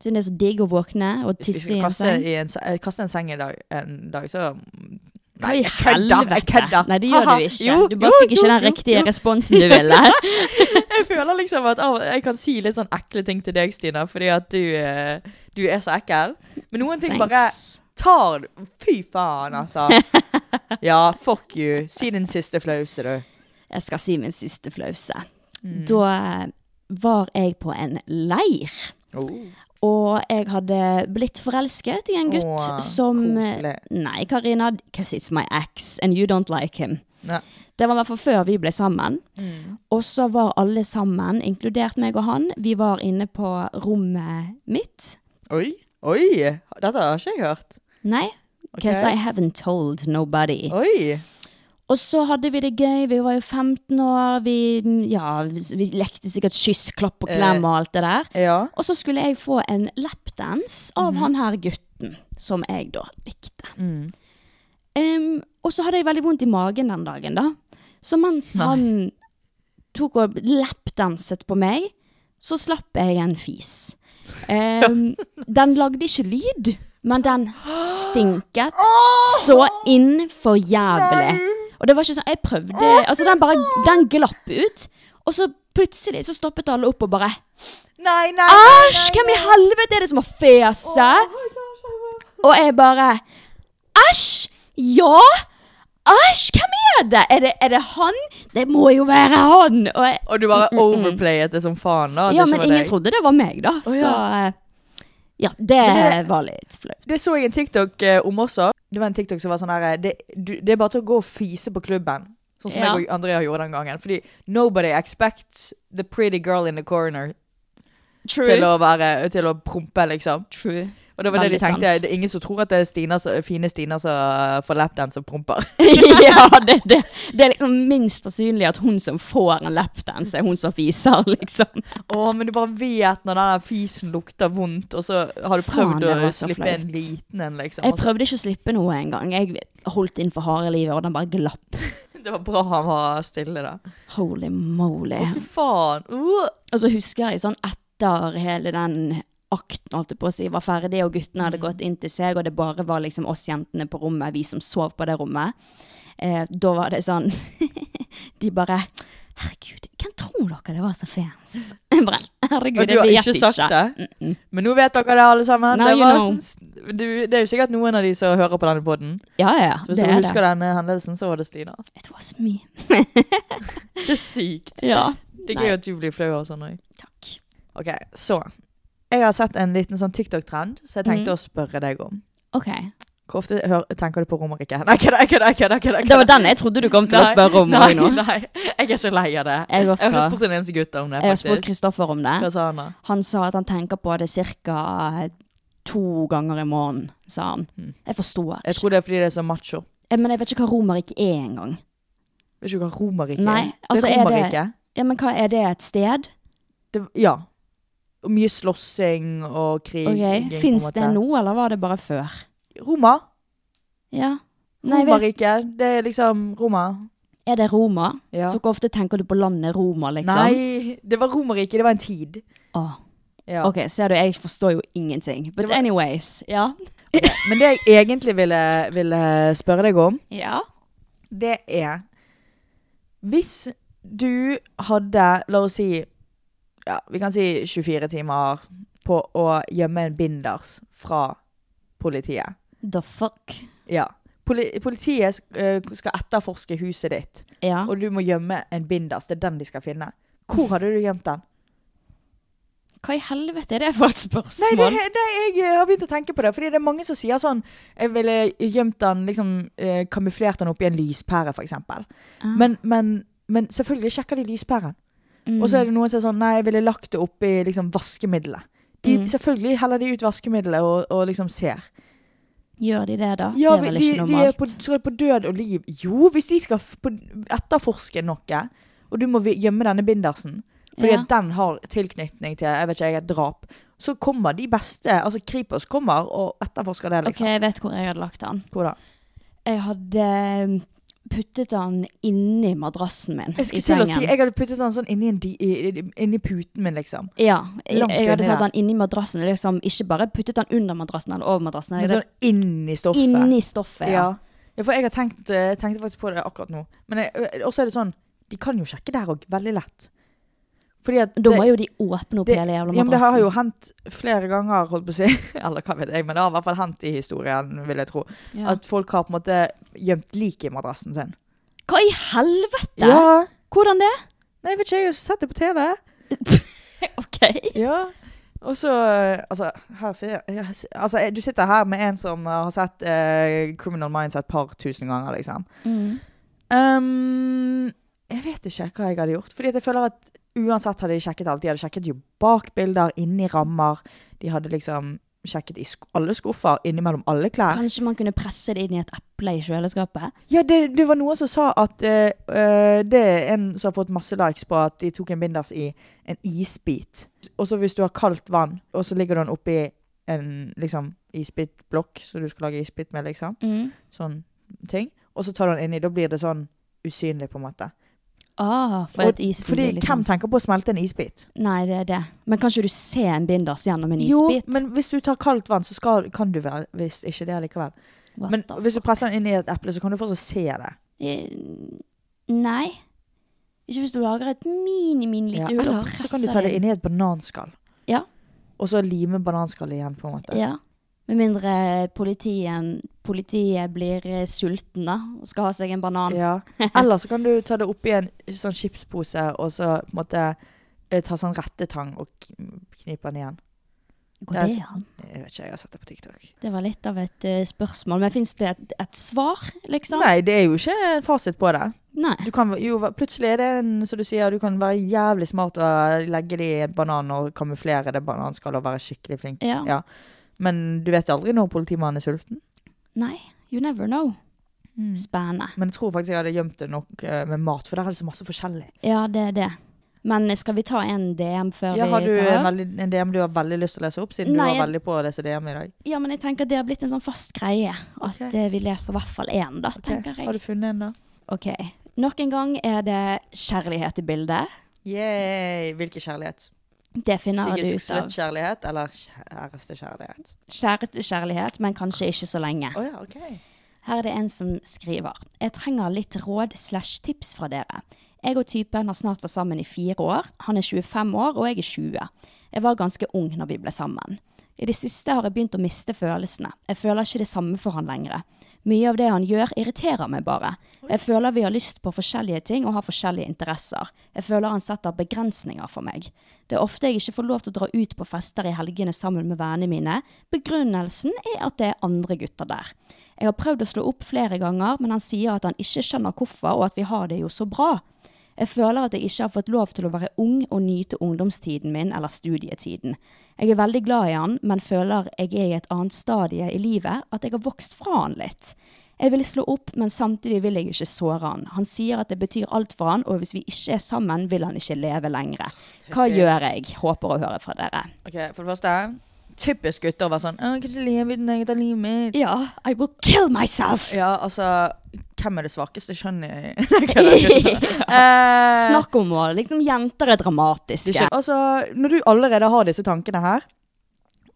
Speaker 1: Siden det er så digg å våkne og
Speaker 2: Hvis vi
Speaker 1: tisse
Speaker 2: skal
Speaker 1: i en
Speaker 2: kaste
Speaker 1: seng?
Speaker 2: I en, se- eh, kaste en seng i dag, en dag så
Speaker 1: Hva i
Speaker 2: jeg kødder, jeg kødder.
Speaker 1: Nei, det gjør
Speaker 2: Haha.
Speaker 1: du ikke.
Speaker 2: Jo,
Speaker 1: du bare
Speaker 2: jo,
Speaker 1: fikk ikke
Speaker 2: jo,
Speaker 1: den
Speaker 2: jo,
Speaker 1: riktige
Speaker 2: jo.
Speaker 1: responsen du ville.
Speaker 2: Jeg føler liksom at av, jeg kan si litt sånn ekle ting til deg, Stina, fordi at du, eh, du er så ekkel. Men noen ting bare
Speaker 1: Thanks.
Speaker 2: tar du Fy faen, altså. Ja, fuck you. Si din siste flause, du.
Speaker 1: Jeg skal si min siste flause.
Speaker 2: Mm.
Speaker 1: Da eh, var jeg på en leir. Oh. Og jeg hadde blitt forelsket i en gutt
Speaker 2: Åh,
Speaker 1: som eh,
Speaker 2: koselig.
Speaker 1: Nei, Karina, because it's my ex and you don't like him.
Speaker 2: Ja. Mm.
Speaker 1: Det var i hvert fall før vi ble sammen. Og så var alle sammen, inkludert meg og han, vi var inne på rommet mitt.
Speaker 2: Oi. Oi. Dette har ikke jeg hørt.
Speaker 1: Nei, because
Speaker 2: Ok.
Speaker 1: I haven't told nobody.
Speaker 2: Oi.
Speaker 1: Og så hadde vi det gøy, vi var jo 15 år, vi, mm, ja, vi, vi lekte sikkert kyss, klapp og
Speaker 2: Eh,
Speaker 1: klem og alt det der.
Speaker 2: Ja.
Speaker 1: Og så skulle jeg få en lapdance av han her gutten, som jeg da likte. Em, og så hadde jeg veldig vondt i magen den dagen, da. Så mens han tok og lapdanset på meg, så slapp jeg en fis. Em, den lagde ikke lyd, men den stinket så inn for jævlig. Og det var ikke sånn Jeg prøvde Altså, den bare Den glapp ut. Og så plutselig så stoppet alle opp og bare
Speaker 2: Nei, nei.
Speaker 1: Æsj! Hvem i helvete er det som har fese? Og jeg bare Æsj! Ja! Æsj! Hvem er det? er det? Er det han? Det må jo være han! Og jeg,
Speaker 2: Og du bare overplayet det som faen, da. at
Speaker 1: Mm, ja,
Speaker 2: det ikke
Speaker 1: men
Speaker 2: var
Speaker 1: ingen
Speaker 2: deg.
Speaker 1: trodde det var meg, da. Så eh, Ja, det
Speaker 2: Men det-
Speaker 1: var litt flaut.
Speaker 2: Det så jeg en TikTok eh, om også. Det var en TikTok som var sånn her eh, det, du, det er bare til å gå og fise på klubben. Sånn som
Speaker 1: Ja.
Speaker 2: jeg og Andrea gjorde den gangen. Fordi nobody expects the pretty girl in the corner til å, være, til å prompe, liksom.
Speaker 1: True.
Speaker 2: Og det var det
Speaker 1: Veldig
Speaker 2: de tenkte.
Speaker 1: sant.
Speaker 2: Det er ingen som tror at det er Stina, som- fine Stina som får lapdance og promper.
Speaker 1: ja, det, det, det er liksom minst sannsynlig at hun som får en lapdance, er hun som fiser, liksom.
Speaker 2: Å, men du bare vet når den der fisen lukter vondt, og så har du
Speaker 1: Faen,
Speaker 2: prøvd
Speaker 1: det var
Speaker 2: å
Speaker 1: så
Speaker 2: slippe
Speaker 1: flaut.
Speaker 2: en liten en, liksom.
Speaker 1: Jeg
Speaker 2: Og så-
Speaker 1: prøvde ikke å slippe noe engang. Jeg holdt inn for harde livet, og den bare glapp.
Speaker 2: Det var bra han var stille, da.
Speaker 1: Holy moly.
Speaker 2: Å, fy faen. Uh.
Speaker 1: Og så husker jeg sånn etter hele den akten holdt jeg på å si, var ferdig, og guttene
Speaker 2: Mm.
Speaker 1: hadde gått inn til seg, og det bare var liksom oss jentene på rommet, vi som sov på det rommet. Eh, da var det sånn De bare Herregud, hvem tror dere det var som fans? Jeg bare, Herregud,
Speaker 2: Og du
Speaker 1: jeg
Speaker 2: har
Speaker 1: vet
Speaker 2: ikke sagt det? Men nå vet dere det, alle sammen.
Speaker 1: Now
Speaker 2: det,
Speaker 1: you
Speaker 2: var, sånn
Speaker 1: know.
Speaker 2: s- du, det er jo sikkert noen av de som hører på denne poden.
Speaker 1: Ja, ja,
Speaker 2: Hvis
Speaker 1: det
Speaker 2: du
Speaker 1: er
Speaker 2: husker
Speaker 1: det.
Speaker 2: denne hendelsen, så var det Stina.
Speaker 1: It was me.
Speaker 2: Det er sykt.
Speaker 1: Ja.
Speaker 2: Det er gøy at du blir flau av sånn òg.
Speaker 1: Takk.
Speaker 2: OK, så. Jeg har sett en liten sånn TikTok-trend, så jeg tenkte
Speaker 1: Mhm.
Speaker 2: å spørre deg om.
Speaker 1: OK.
Speaker 2: Hvor ofte hør, tenker du på Romerike? Nei, kødda, jeg kødder, jeg kødder, jeg kødder.
Speaker 1: Det var den jeg trodde du kom til å
Speaker 2: Nei,
Speaker 1: spørre om.
Speaker 2: Nei,
Speaker 1: Magnus.
Speaker 2: nei. Jeg er så lei av det.
Speaker 1: Jeg også.
Speaker 2: har ikke spurt en eneste gutt om det,
Speaker 1: Jeg har spurt
Speaker 2: faktisk.
Speaker 1: Kristoffer om det.
Speaker 2: Hva sa han da?
Speaker 1: Han sa at han tenker på det ca. to ganger i måneden, sa han. Jeg forstår
Speaker 2: Mm. Jeg
Speaker 1: ikke.
Speaker 2: tror det er fordi det er så macho.
Speaker 1: Eh, Men jeg vet ikke hva Romerike er engang.
Speaker 2: Vet ikke hva Romerike
Speaker 1: Nei,
Speaker 2: er?
Speaker 1: altså,
Speaker 2: det
Speaker 1: er
Speaker 2: er
Speaker 1: det-
Speaker 2: Romerike.
Speaker 1: Ja, men hva er det? Et sted?
Speaker 2: det, ja. Og Mye slåssing og krig.
Speaker 1: Ok, Fins det nå, eller var det bare før?
Speaker 2: Roma.
Speaker 1: Ja. Nei, vet,
Speaker 2: Romerriket. Det er liksom Roma.
Speaker 1: er det Roma?
Speaker 2: Ja.
Speaker 1: Så hvor ofte tenker du på landet Roma, liksom?
Speaker 2: Nei, det var Romerriket. Det var en tid.
Speaker 1: Åh,
Speaker 2: Ja.
Speaker 1: OK, ser du, jeg forstår jo ingenting. But
Speaker 2: Det var-
Speaker 1: anyways. Ja.
Speaker 2: Ok, Men det jeg egentlig ville, ville spørre deg om,
Speaker 1: Ja.
Speaker 2: det er Hvis du hadde, la oss si, ja, vi kan si 24 timer på å gjemme en binders fra politiet.
Speaker 1: The fuck?
Speaker 2: Ja. Poli politiet eh, skal etterforske huset ditt,
Speaker 1: Ja.
Speaker 2: og du må gjemme en binders. Det er den de skal finne. Hvor hadde du gjemt den?
Speaker 1: Hva i helvete er det for et
Speaker 2: Nei,
Speaker 1: spørsmål?
Speaker 2: det, det, jeg eh, har begynt å tenke på det. Fordi det er mange som sier sånn Jeg ville gjemt den, liksom eh, kamuflert den oppi en lyspære, f.eks.
Speaker 1: Ah.
Speaker 2: Men, men, men selvfølgelig sjekker de lyspæren.
Speaker 1: Mm.
Speaker 2: Og så er det noen som er sånn Nei, jeg ville lagt det oppi liksom, vaskemiddelet. De,
Speaker 1: Mm.
Speaker 2: Selvfølgelig heller de ut vaskemiddelet og, og liksom ser.
Speaker 1: Gjør de det, da?
Speaker 2: Ja,
Speaker 1: det er
Speaker 2: vi-
Speaker 1: vel
Speaker 2: de,
Speaker 1: ikke
Speaker 2: de er
Speaker 1: normalt?
Speaker 2: på, skal på død og liv. Jo, hvis de skal f- på, etterforske noe, og du må vi- gjemme denne bindersen fordi
Speaker 1: Ja.
Speaker 2: at den har tilknytning til jeg vet ikke, jeg, et drap, så kommer de beste Altså Kripos kommer og etterforsker det,
Speaker 1: OK,
Speaker 2: liksom.
Speaker 1: jeg vet hvor jeg hadde lagt den.
Speaker 2: Hvor da?
Speaker 1: Jeg hadde um, puttet den inni madrassen min
Speaker 2: Jeg skulle
Speaker 1: i
Speaker 2: til å
Speaker 1: sengen.
Speaker 2: si Jeg hadde puttet den sånn inni, en di, i, i, inni puten min, liksom.
Speaker 1: Ja, jeg,
Speaker 2: Langt
Speaker 1: jeg hadde
Speaker 2: inni
Speaker 1: tatt
Speaker 2: der.
Speaker 1: den inni madrassen. Liksom, ikke bare puttet den under madrassen eller over madrassen.
Speaker 2: Men
Speaker 1: Jeg
Speaker 2: sånn
Speaker 1: hadde
Speaker 2: inni stoffet.
Speaker 1: inni stoffet. Ja.
Speaker 2: Ja. ja, for jeg har tenkt, eh, tenkte faktisk på det akkurat nå. Men jeg- også er det sånn De kan jo sjekke der òg, veldig lett. Fordi at
Speaker 1: Da må jo de åpne opp
Speaker 2: det-
Speaker 1: hele jævla
Speaker 2: Ja, men det
Speaker 1: madrassen.
Speaker 2: har jo hendt flere ganger, holdt på å si. Eller hva vet jeg, men det har i hvert fall hendt i historien, vil jeg tro.
Speaker 1: Ja.
Speaker 2: At folk har på en måte gjemt lik i madrassen sin.
Speaker 1: Hva i helvete?!
Speaker 2: Ja.
Speaker 1: Hvordan det?
Speaker 2: Nei, vet ikke, jeg har sett det på TV.
Speaker 1: OK.
Speaker 2: Ja. Og så Altså, her ser jeg, jeg ser- altså jeg- du sitter her med en som har sett eh, Criminal Minds et par tusen ganger, liksom.
Speaker 1: Mm.
Speaker 2: Ehm, jeg vet ikke hva jeg hadde gjort. Fordi at jeg føler at uansett hadde de sjekket alt. De hadde sjekket jo bakbilder, inni rammer. De hadde liksom sjekket i sk alle skuffer, innimellom alle klær.
Speaker 1: Kanskje man kunne presse det inn i et eple i kjøleskapet?
Speaker 2: Ja, det, det var noen som sa at eh, eh, det er en som har fått masse likes på at de tok en binders i en isbit. Og så hvis du har kaldt vann, og så ligger den oppi en liksom, isbitblokk som du skal lage isbit med, liksom.
Speaker 1: Mm.
Speaker 2: Sånn ting. Og så tar du den inni. Da blir det sånn usynlig, på en måte.
Speaker 1: Ah, for
Speaker 2: Og-
Speaker 1: at isen
Speaker 2: fordi
Speaker 1: blir liksom
Speaker 2: hvem tenker på å smelte en isbit?
Speaker 1: Nei, det er det. Men kan ikke du se en binders gjennom en isbit?
Speaker 2: men hvis du tar kaldt vann, så skal, kan du vel hvis ikke det likevel.
Speaker 1: What
Speaker 2: Men
Speaker 1: the
Speaker 2: hvis du
Speaker 1: fuck?
Speaker 2: presser den inn i et eple, så kan du fortsatt se det.
Speaker 1: Eh, Nei. Ikke hvis du lager et mini-mini lite
Speaker 2: Ja,
Speaker 1: hull
Speaker 2: eller
Speaker 1: og presser
Speaker 2: så kan du ta det inn i et bananskall.
Speaker 1: Ja.
Speaker 2: Og så lime bananskallet igjen, på en måte.
Speaker 1: Ja. Med mindre politien, politiet blir eh, sulten da, og skal ha seg en banan.
Speaker 2: Ja. Eller så kan du ta det oppi en sånn chipspose, og så på en måte eh, ta sånn rettetang og kn- knipe den igjen.
Speaker 1: Går
Speaker 2: det er
Speaker 1: det
Speaker 2: sant.
Speaker 1: an?
Speaker 2: Jeg vet ikke, jeg har sett det på TikTok.
Speaker 1: Det var litt av et eh, spørsmål. Men fins det et, et svar, liksom?
Speaker 2: Nei, det er jo ikke en fasit på det.
Speaker 1: Nei.
Speaker 2: Du kan, jo, plutselig er det en, som du sier, du kan være jævlig smart og legge det i en banan og kamuflere det bananskallet og være skikkelig flink.
Speaker 1: Ja.
Speaker 2: Men du vet jo aldri når politimannen er sulten.
Speaker 1: Nei. You never know.
Speaker 2: Mm.
Speaker 1: Mm. Spennende.
Speaker 2: Men jeg tror faktisk jeg hadde gjemt det nok eh, med mat, for der er det så masse forskjellig.
Speaker 1: Ja, det er det. Men skal vi ta en DM før
Speaker 2: Ja, har
Speaker 1: vi
Speaker 2: du
Speaker 1: tar
Speaker 2: en, veldig, en DM du har veldig lyst til å lese opp, siden
Speaker 1: Nei,
Speaker 2: du
Speaker 1: jeg-
Speaker 2: var veldig på å lese DM i dag?
Speaker 1: Ja, men jeg tenker det har blitt en sånn fast greie. At
Speaker 2: Ok.
Speaker 1: eh, vi leser i hvert fall én, da,
Speaker 2: Ok,
Speaker 1: tenker
Speaker 2: Har du
Speaker 1: jeg.
Speaker 2: funnet en, da?
Speaker 1: Ok. Nok en gang er det kjærlighet i bildet.
Speaker 2: Yay! Hvilken kjærlighet?
Speaker 1: Det finner du
Speaker 2: Psykisk
Speaker 1: ut av.
Speaker 2: slett-kjærlighet eller kjærestekjærlighet?
Speaker 1: Kjæreste kjærlighet, men kanskje ikke så lenge.
Speaker 2: Å ja, OK.
Speaker 1: Her er det en som skriver. Jeg trenger litt råd slash tips fra dere. Jeg og typen har snart vært sammen i fire år. Han er 25 år, og jeg er 20. Jeg var ganske ung når vi ble sammen. I det siste har jeg begynt å miste følelsene. Jeg føler ikke det samme for han lenger. Mye av det han gjør, irriterer meg bare. Jeg føler vi har lyst på forskjellige ting og har forskjellige interesser. Jeg føler han setter begrensninger for meg. Det er ofte jeg ikke får lov til å dra ut på fester i helgene sammen med vennene mine. Begrunnelsen er at det er andre gutter der. Jeg har prøvd å slå opp flere ganger, men han sier at han ikke skjønner hvorfor, og at vi har det jo så bra. Jeg føler at jeg ikke har fått lov til å være ung og nyte ungdomstiden min eller studietiden. Jeg er veldig glad i han, men føler jeg er i et annet stadie i livet, at jeg har vokst fra han litt. Jeg vil slå opp, men samtidig vil jeg ikke såre han. Han sier at det betyr alt for han, og hvis vi ikke er sammen, vil han ikke leve lenger. Hva gjør jeg? Håper å høre fra dere.
Speaker 2: Ok, For det første, typisk gutter å være sånn Å, kanskje livet ditt eget av livet mitt.
Speaker 1: Ja, I will kill myself!
Speaker 2: Ja, altså Hvem er det svakeste skjønnet i Nei, kødder, kødder. Eh,
Speaker 1: Snakk om å liksom Jenter er
Speaker 2: det
Speaker 1: dramatiske.
Speaker 2: skjer- Altså, når du allerede har disse tankene her,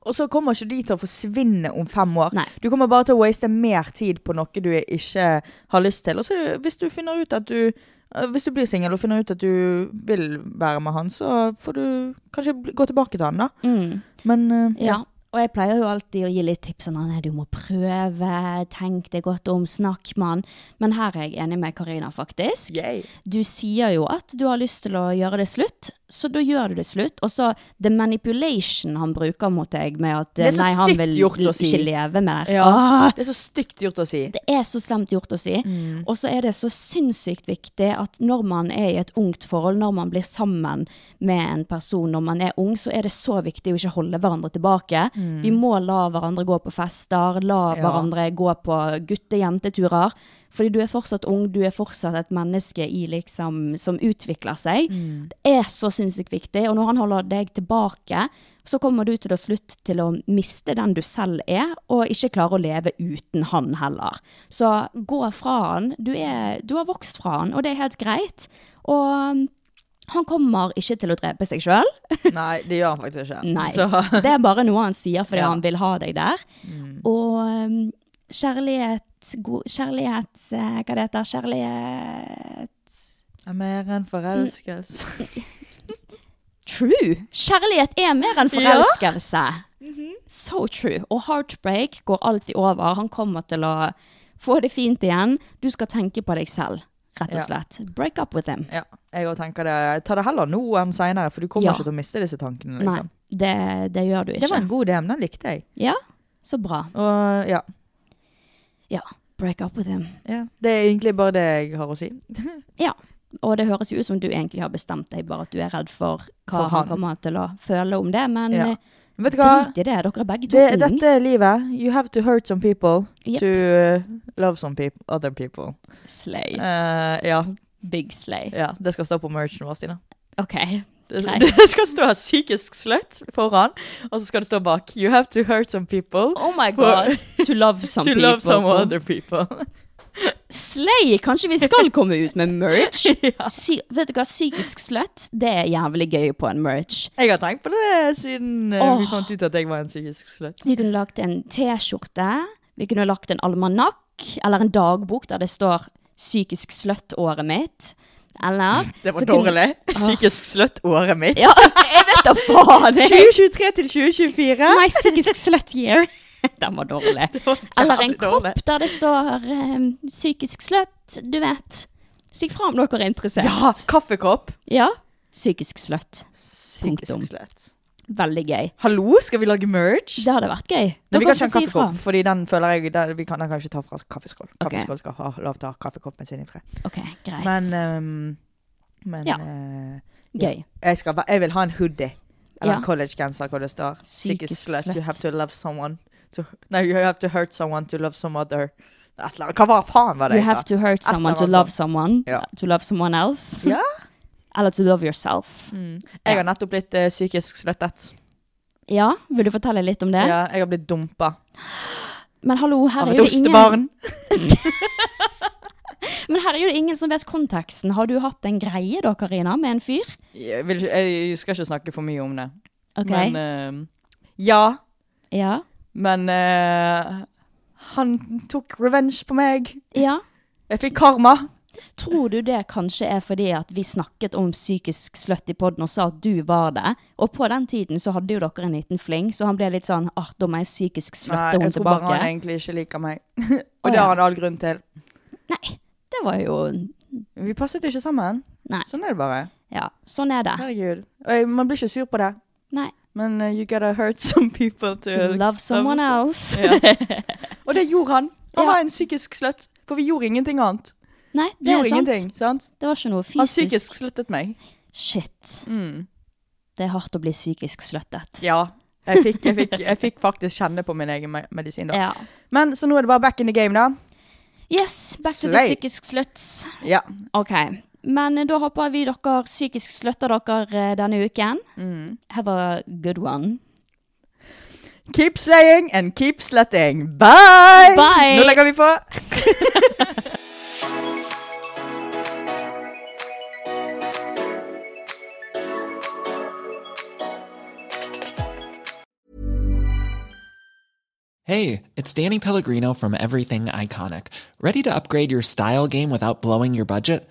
Speaker 2: og så kommer ikke de til å forsvinne om fem år.
Speaker 1: Nei.
Speaker 2: Du kommer bare til å waste mer tid på noe du ikke har lyst til. Og så hvis du finner ut at du eh, Hvis du blir singel og finner ut at du vil være med han, så får du kanskje bli- gå tilbake til han, da.
Speaker 1: Mm.
Speaker 2: Men eh,
Speaker 1: Ja. Og jeg pleier jo alltid å gi litt tips sånn at du må prøve, tenk deg godt om, snakk med han. Men her er jeg enig med Karina, faktisk.
Speaker 2: Yay.
Speaker 1: Du sier jo at du har lyst til å gjøre det slutt, så da gjør du det slutt. Og så the manipulation han bruker mot deg med at
Speaker 2: Det er så
Speaker 1: nei, han
Speaker 2: stygt
Speaker 1: vil
Speaker 2: gjort
Speaker 1: ikke
Speaker 2: å si.
Speaker 1: leve mer.
Speaker 2: Ja. Ah, Det er så stygt gjort å si. Mm.
Speaker 1: Det er så slemt gjort å si. Og så er det så sinnssykt viktig at når man er i et ungt forhold, når man blir sammen med en person når man er ung, så er det så viktig å ikke holde hverandre tilbake. Vi må la hverandre gå på fester, la
Speaker 2: Mm. Ja.
Speaker 1: hverandre gå på gutte-jenteturer. Fordi du er fortsatt ung, du er fortsatt et menneske i liksom, som utvikler seg. Det er så sinnssykt viktig. Og når han holder deg tilbake, så kommer du til å slutt til å miste den du selv er, og ikke klare å leve uten han heller. Så gå fra han. Du, er, du har vokst fra han, og det er helt greit. Og han kommer ikke til å drepe seg sjøl.
Speaker 2: Nei, det gjør han faktisk ikke.
Speaker 1: Nei.
Speaker 2: Så
Speaker 1: Det er bare noe han sier fordi
Speaker 2: Ja. Mm.
Speaker 1: han vil ha deg der. Og um, kjærlighet go- Kjærlighet eh, Hva det heter Kjærlighet
Speaker 2: Jeg er mer enn forelskelse.
Speaker 1: True! Kjærlighet er mer enn forelskelse.
Speaker 2: Mhm.
Speaker 1: So true. Og heartbreak går alltid over. Han kommer til å få det fint igjen. Du skal tenke på deg selv, rett og
Speaker 2: Ja.
Speaker 1: slett. Break up with him.
Speaker 2: Ja, jeg òg tenker det. Ta det heller nå enn seinere, for du kommer
Speaker 1: Ja.
Speaker 2: ikke til å miste disse tankene.
Speaker 1: Nei,
Speaker 2: liksom.
Speaker 1: det, det gjør du ikke.
Speaker 2: Det var en god DM, den likte jeg.
Speaker 1: Ja, så bra.
Speaker 2: Og ja.
Speaker 1: Ja, break up with him.
Speaker 2: ja. Det er egentlig bare det jeg har å si.
Speaker 1: Ja, og det høres jo ut som du egentlig har bestemt deg, bare at du er redd for hva
Speaker 2: For
Speaker 1: han.
Speaker 2: han.
Speaker 1: kommer til å føle om det, men
Speaker 2: Ja.
Speaker 1: eh,
Speaker 2: Men Vet du hva?
Speaker 1: drit i det, dere er begge to
Speaker 2: Det,
Speaker 1: unge.
Speaker 2: dette er livet. You have to hurt some people
Speaker 1: Yep.
Speaker 2: to uh, love some peop other people.
Speaker 1: Slay.
Speaker 2: Eh, ja,
Speaker 1: Big slay.
Speaker 2: ja. Det skal stå på merchen vår, Stina.
Speaker 1: Ok,
Speaker 2: Det,
Speaker 1: Nei.
Speaker 2: det skal stå 'psykisk slutt' foran, og så skal det stå bak 'You have to hurt some people
Speaker 1: Oh my
Speaker 2: For-
Speaker 1: god, to love some
Speaker 2: to
Speaker 1: people.
Speaker 2: love some other people'.
Speaker 1: Slay! Kanskje vi skal komme ut med merch? Sy vet du hva, psykisk sløtt, det er jævlig gøy på en merch.
Speaker 2: Jeg har tenkt på det siden eh,
Speaker 1: Åh.
Speaker 2: vi fant ut at jeg var en psykisk slutt.
Speaker 1: Vi kunne lagt en t-skjorte, vi kunne lagt en almanakk, eller en dagbok der det står psykisk sløtt-året mitt. Eller
Speaker 2: Det var
Speaker 1: så kunne- Ah.
Speaker 2: dårlig. Psykisk slutt-året mitt.
Speaker 1: Ja, jeg vet da faen! jeg.
Speaker 2: 2023 til 2024.
Speaker 1: My psykisk slut year. Den var dårlig.
Speaker 2: var
Speaker 1: Eller en
Speaker 2: jævlig
Speaker 1: kopp
Speaker 2: dårlig.
Speaker 1: der det står ehm, psykisk slutt, du vet. Si fra om dere er interessert.
Speaker 2: Ja, kaffekopp.
Speaker 1: Ja. Psykisk slutt. Punktum.
Speaker 2: Psykisk slutt.
Speaker 1: Veldig gøy.
Speaker 2: Hallo, skal vi lage merch?
Speaker 1: Det hadde vært gøy.
Speaker 2: Nei, vi
Speaker 1: Dere
Speaker 2: kan ikke
Speaker 1: får
Speaker 2: ha
Speaker 1: si
Speaker 2: kaffekopp, fordi den føler jeg den, vi kan, den kan vi ikke ta fra kaffeskål.
Speaker 1: Ok.
Speaker 2: Kaffeskål skal ha lov til å ha kaffekoppen sin i fred.
Speaker 1: ifra. Ok, greit.
Speaker 2: Men, ehm, men
Speaker 1: Ja.
Speaker 2: eh,
Speaker 1: gøy.
Speaker 2: jeg, skal, va- jeg vil ha en hoodie. Eller
Speaker 1: Ja.
Speaker 2: en collegegenser hvor det står Psykisk
Speaker 1: Psykisk
Speaker 2: slut. You
Speaker 1: slut.
Speaker 2: have to love someone to, No, you have to hurt someone to love some other Et eller annet. Hva faen var det
Speaker 1: You
Speaker 2: jeg
Speaker 1: have
Speaker 2: sa?
Speaker 1: to hurt
Speaker 2: Et
Speaker 1: someone
Speaker 2: eller
Speaker 1: to
Speaker 2: annet
Speaker 1: love
Speaker 2: sånt.
Speaker 1: someone.
Speaker 2: Ja.
Speaker 1: To love someone else.
Speaker 2: Ja.
Speaker 1: Eller to love yourself.
Speaker 2: Jeg har nettopp blitt eh, psykisk sluttet.
Speaker 1: Ja, vil du fortelle litt om det?
Speaker 2: Ja, jeg har blitt dumpa
Speaker 1: Men hallo, her
Speaker 2: av
Speaker 1: er
Speaker 2: et
Speaker 1: jo det ingen
Speaker 2: ostebarn.
Speaker 1: Men her er jo det ingen som vet konteksten. Har du hatt en greie da, Karina, med en fyr?
Speaker 2: Jeg, vil, ikke- jeg skal ikke snakke for mye om det.
Speaker 1: Ok.
Speaker 2: Men ehm, ja.
Speaker 1: ja.
Speaker 2: Men eh, han tok revenge på meg.
Speaker 1: ja.
Speaker 2: Jeg fikk karma.
Speaker 1: Tror du det kanskje er fordi at vi snakket om psykisk sløtt i podden og sa at du var det? Og på den tiden så hadde jo dere en liten fling, så han ble litt sånn ah, da må jeg psykisk sløtte
Speaker 2: jeg
Speaker 1: hun
Speaker 2: tror bare han
Speaker 1: tilbake.
Speaker 2: egentlig ikke liker meg.
Speaker 1: Å,
Speaker 2: Og
Speaker 1: ja.
Speaker 2: det har han all grunn til.
Speaker 1: Nei, det var jo
Speaker 2: Vi passet ikke sammen.
Speaker 1: Nei.
Speaker 2: Sånn er det bare.
Speaker 1: Ja, sånn er det.
Speaker 2: Herregud. Og jeg, man blir ikke sur på det.
Speaker 1: Nei.
Speaker 2: Men eh, you gotta hurt some people to,
Speaker 1: To love someone else.
Speaker 2: Og det gjorde han. Han
Speaker 1: Ja.
Speaker 2: var en psykisk slutt. For vi gjorde ingenting annet.
Speaker 1: Nei,
Speaker 2: Vi
Speaker 1: det er
Speaker 2: gjorde
Speaker 1: sant.
Speaker 2: ingenting, sant?
Speaker 1: Det var ikke noe
Speaker 2: Han
Speaker 1: fysisk.
Speaker 2: psykisk sluttet meg.
Speaker 1: Shit.
Speaker 2: Mm.
Speaker 1: Det er hardt å bli psykisk sløttet.
Speaker 2: Ja. Jeg fikk, jeg, fikk, jeg fikk faktisk kjenne på min egen me- medisin da.
Speaker 1: Ja.
Speaker 2: Men så nå er det bare back in the game, da.
Speaker 1: Yes, back to the
Speaker 2: Slay.
Speaker 1: psykisk sløtts.
Speaker 2: Ja.
Speaker 1: Ok, men eh, da håper vi dere psykisk sløtter dere eh, denne uken. Have a good one.
Speaker 2: Keep slaying and keep slutting. Bye!
Speaker 1: Bye!
Speaker 2: Nå legger vi på.
Speaker 4: Hey, it's Danny Pellegrino from Everything Iconic. Ready to upgrade your style game without blowing your budget?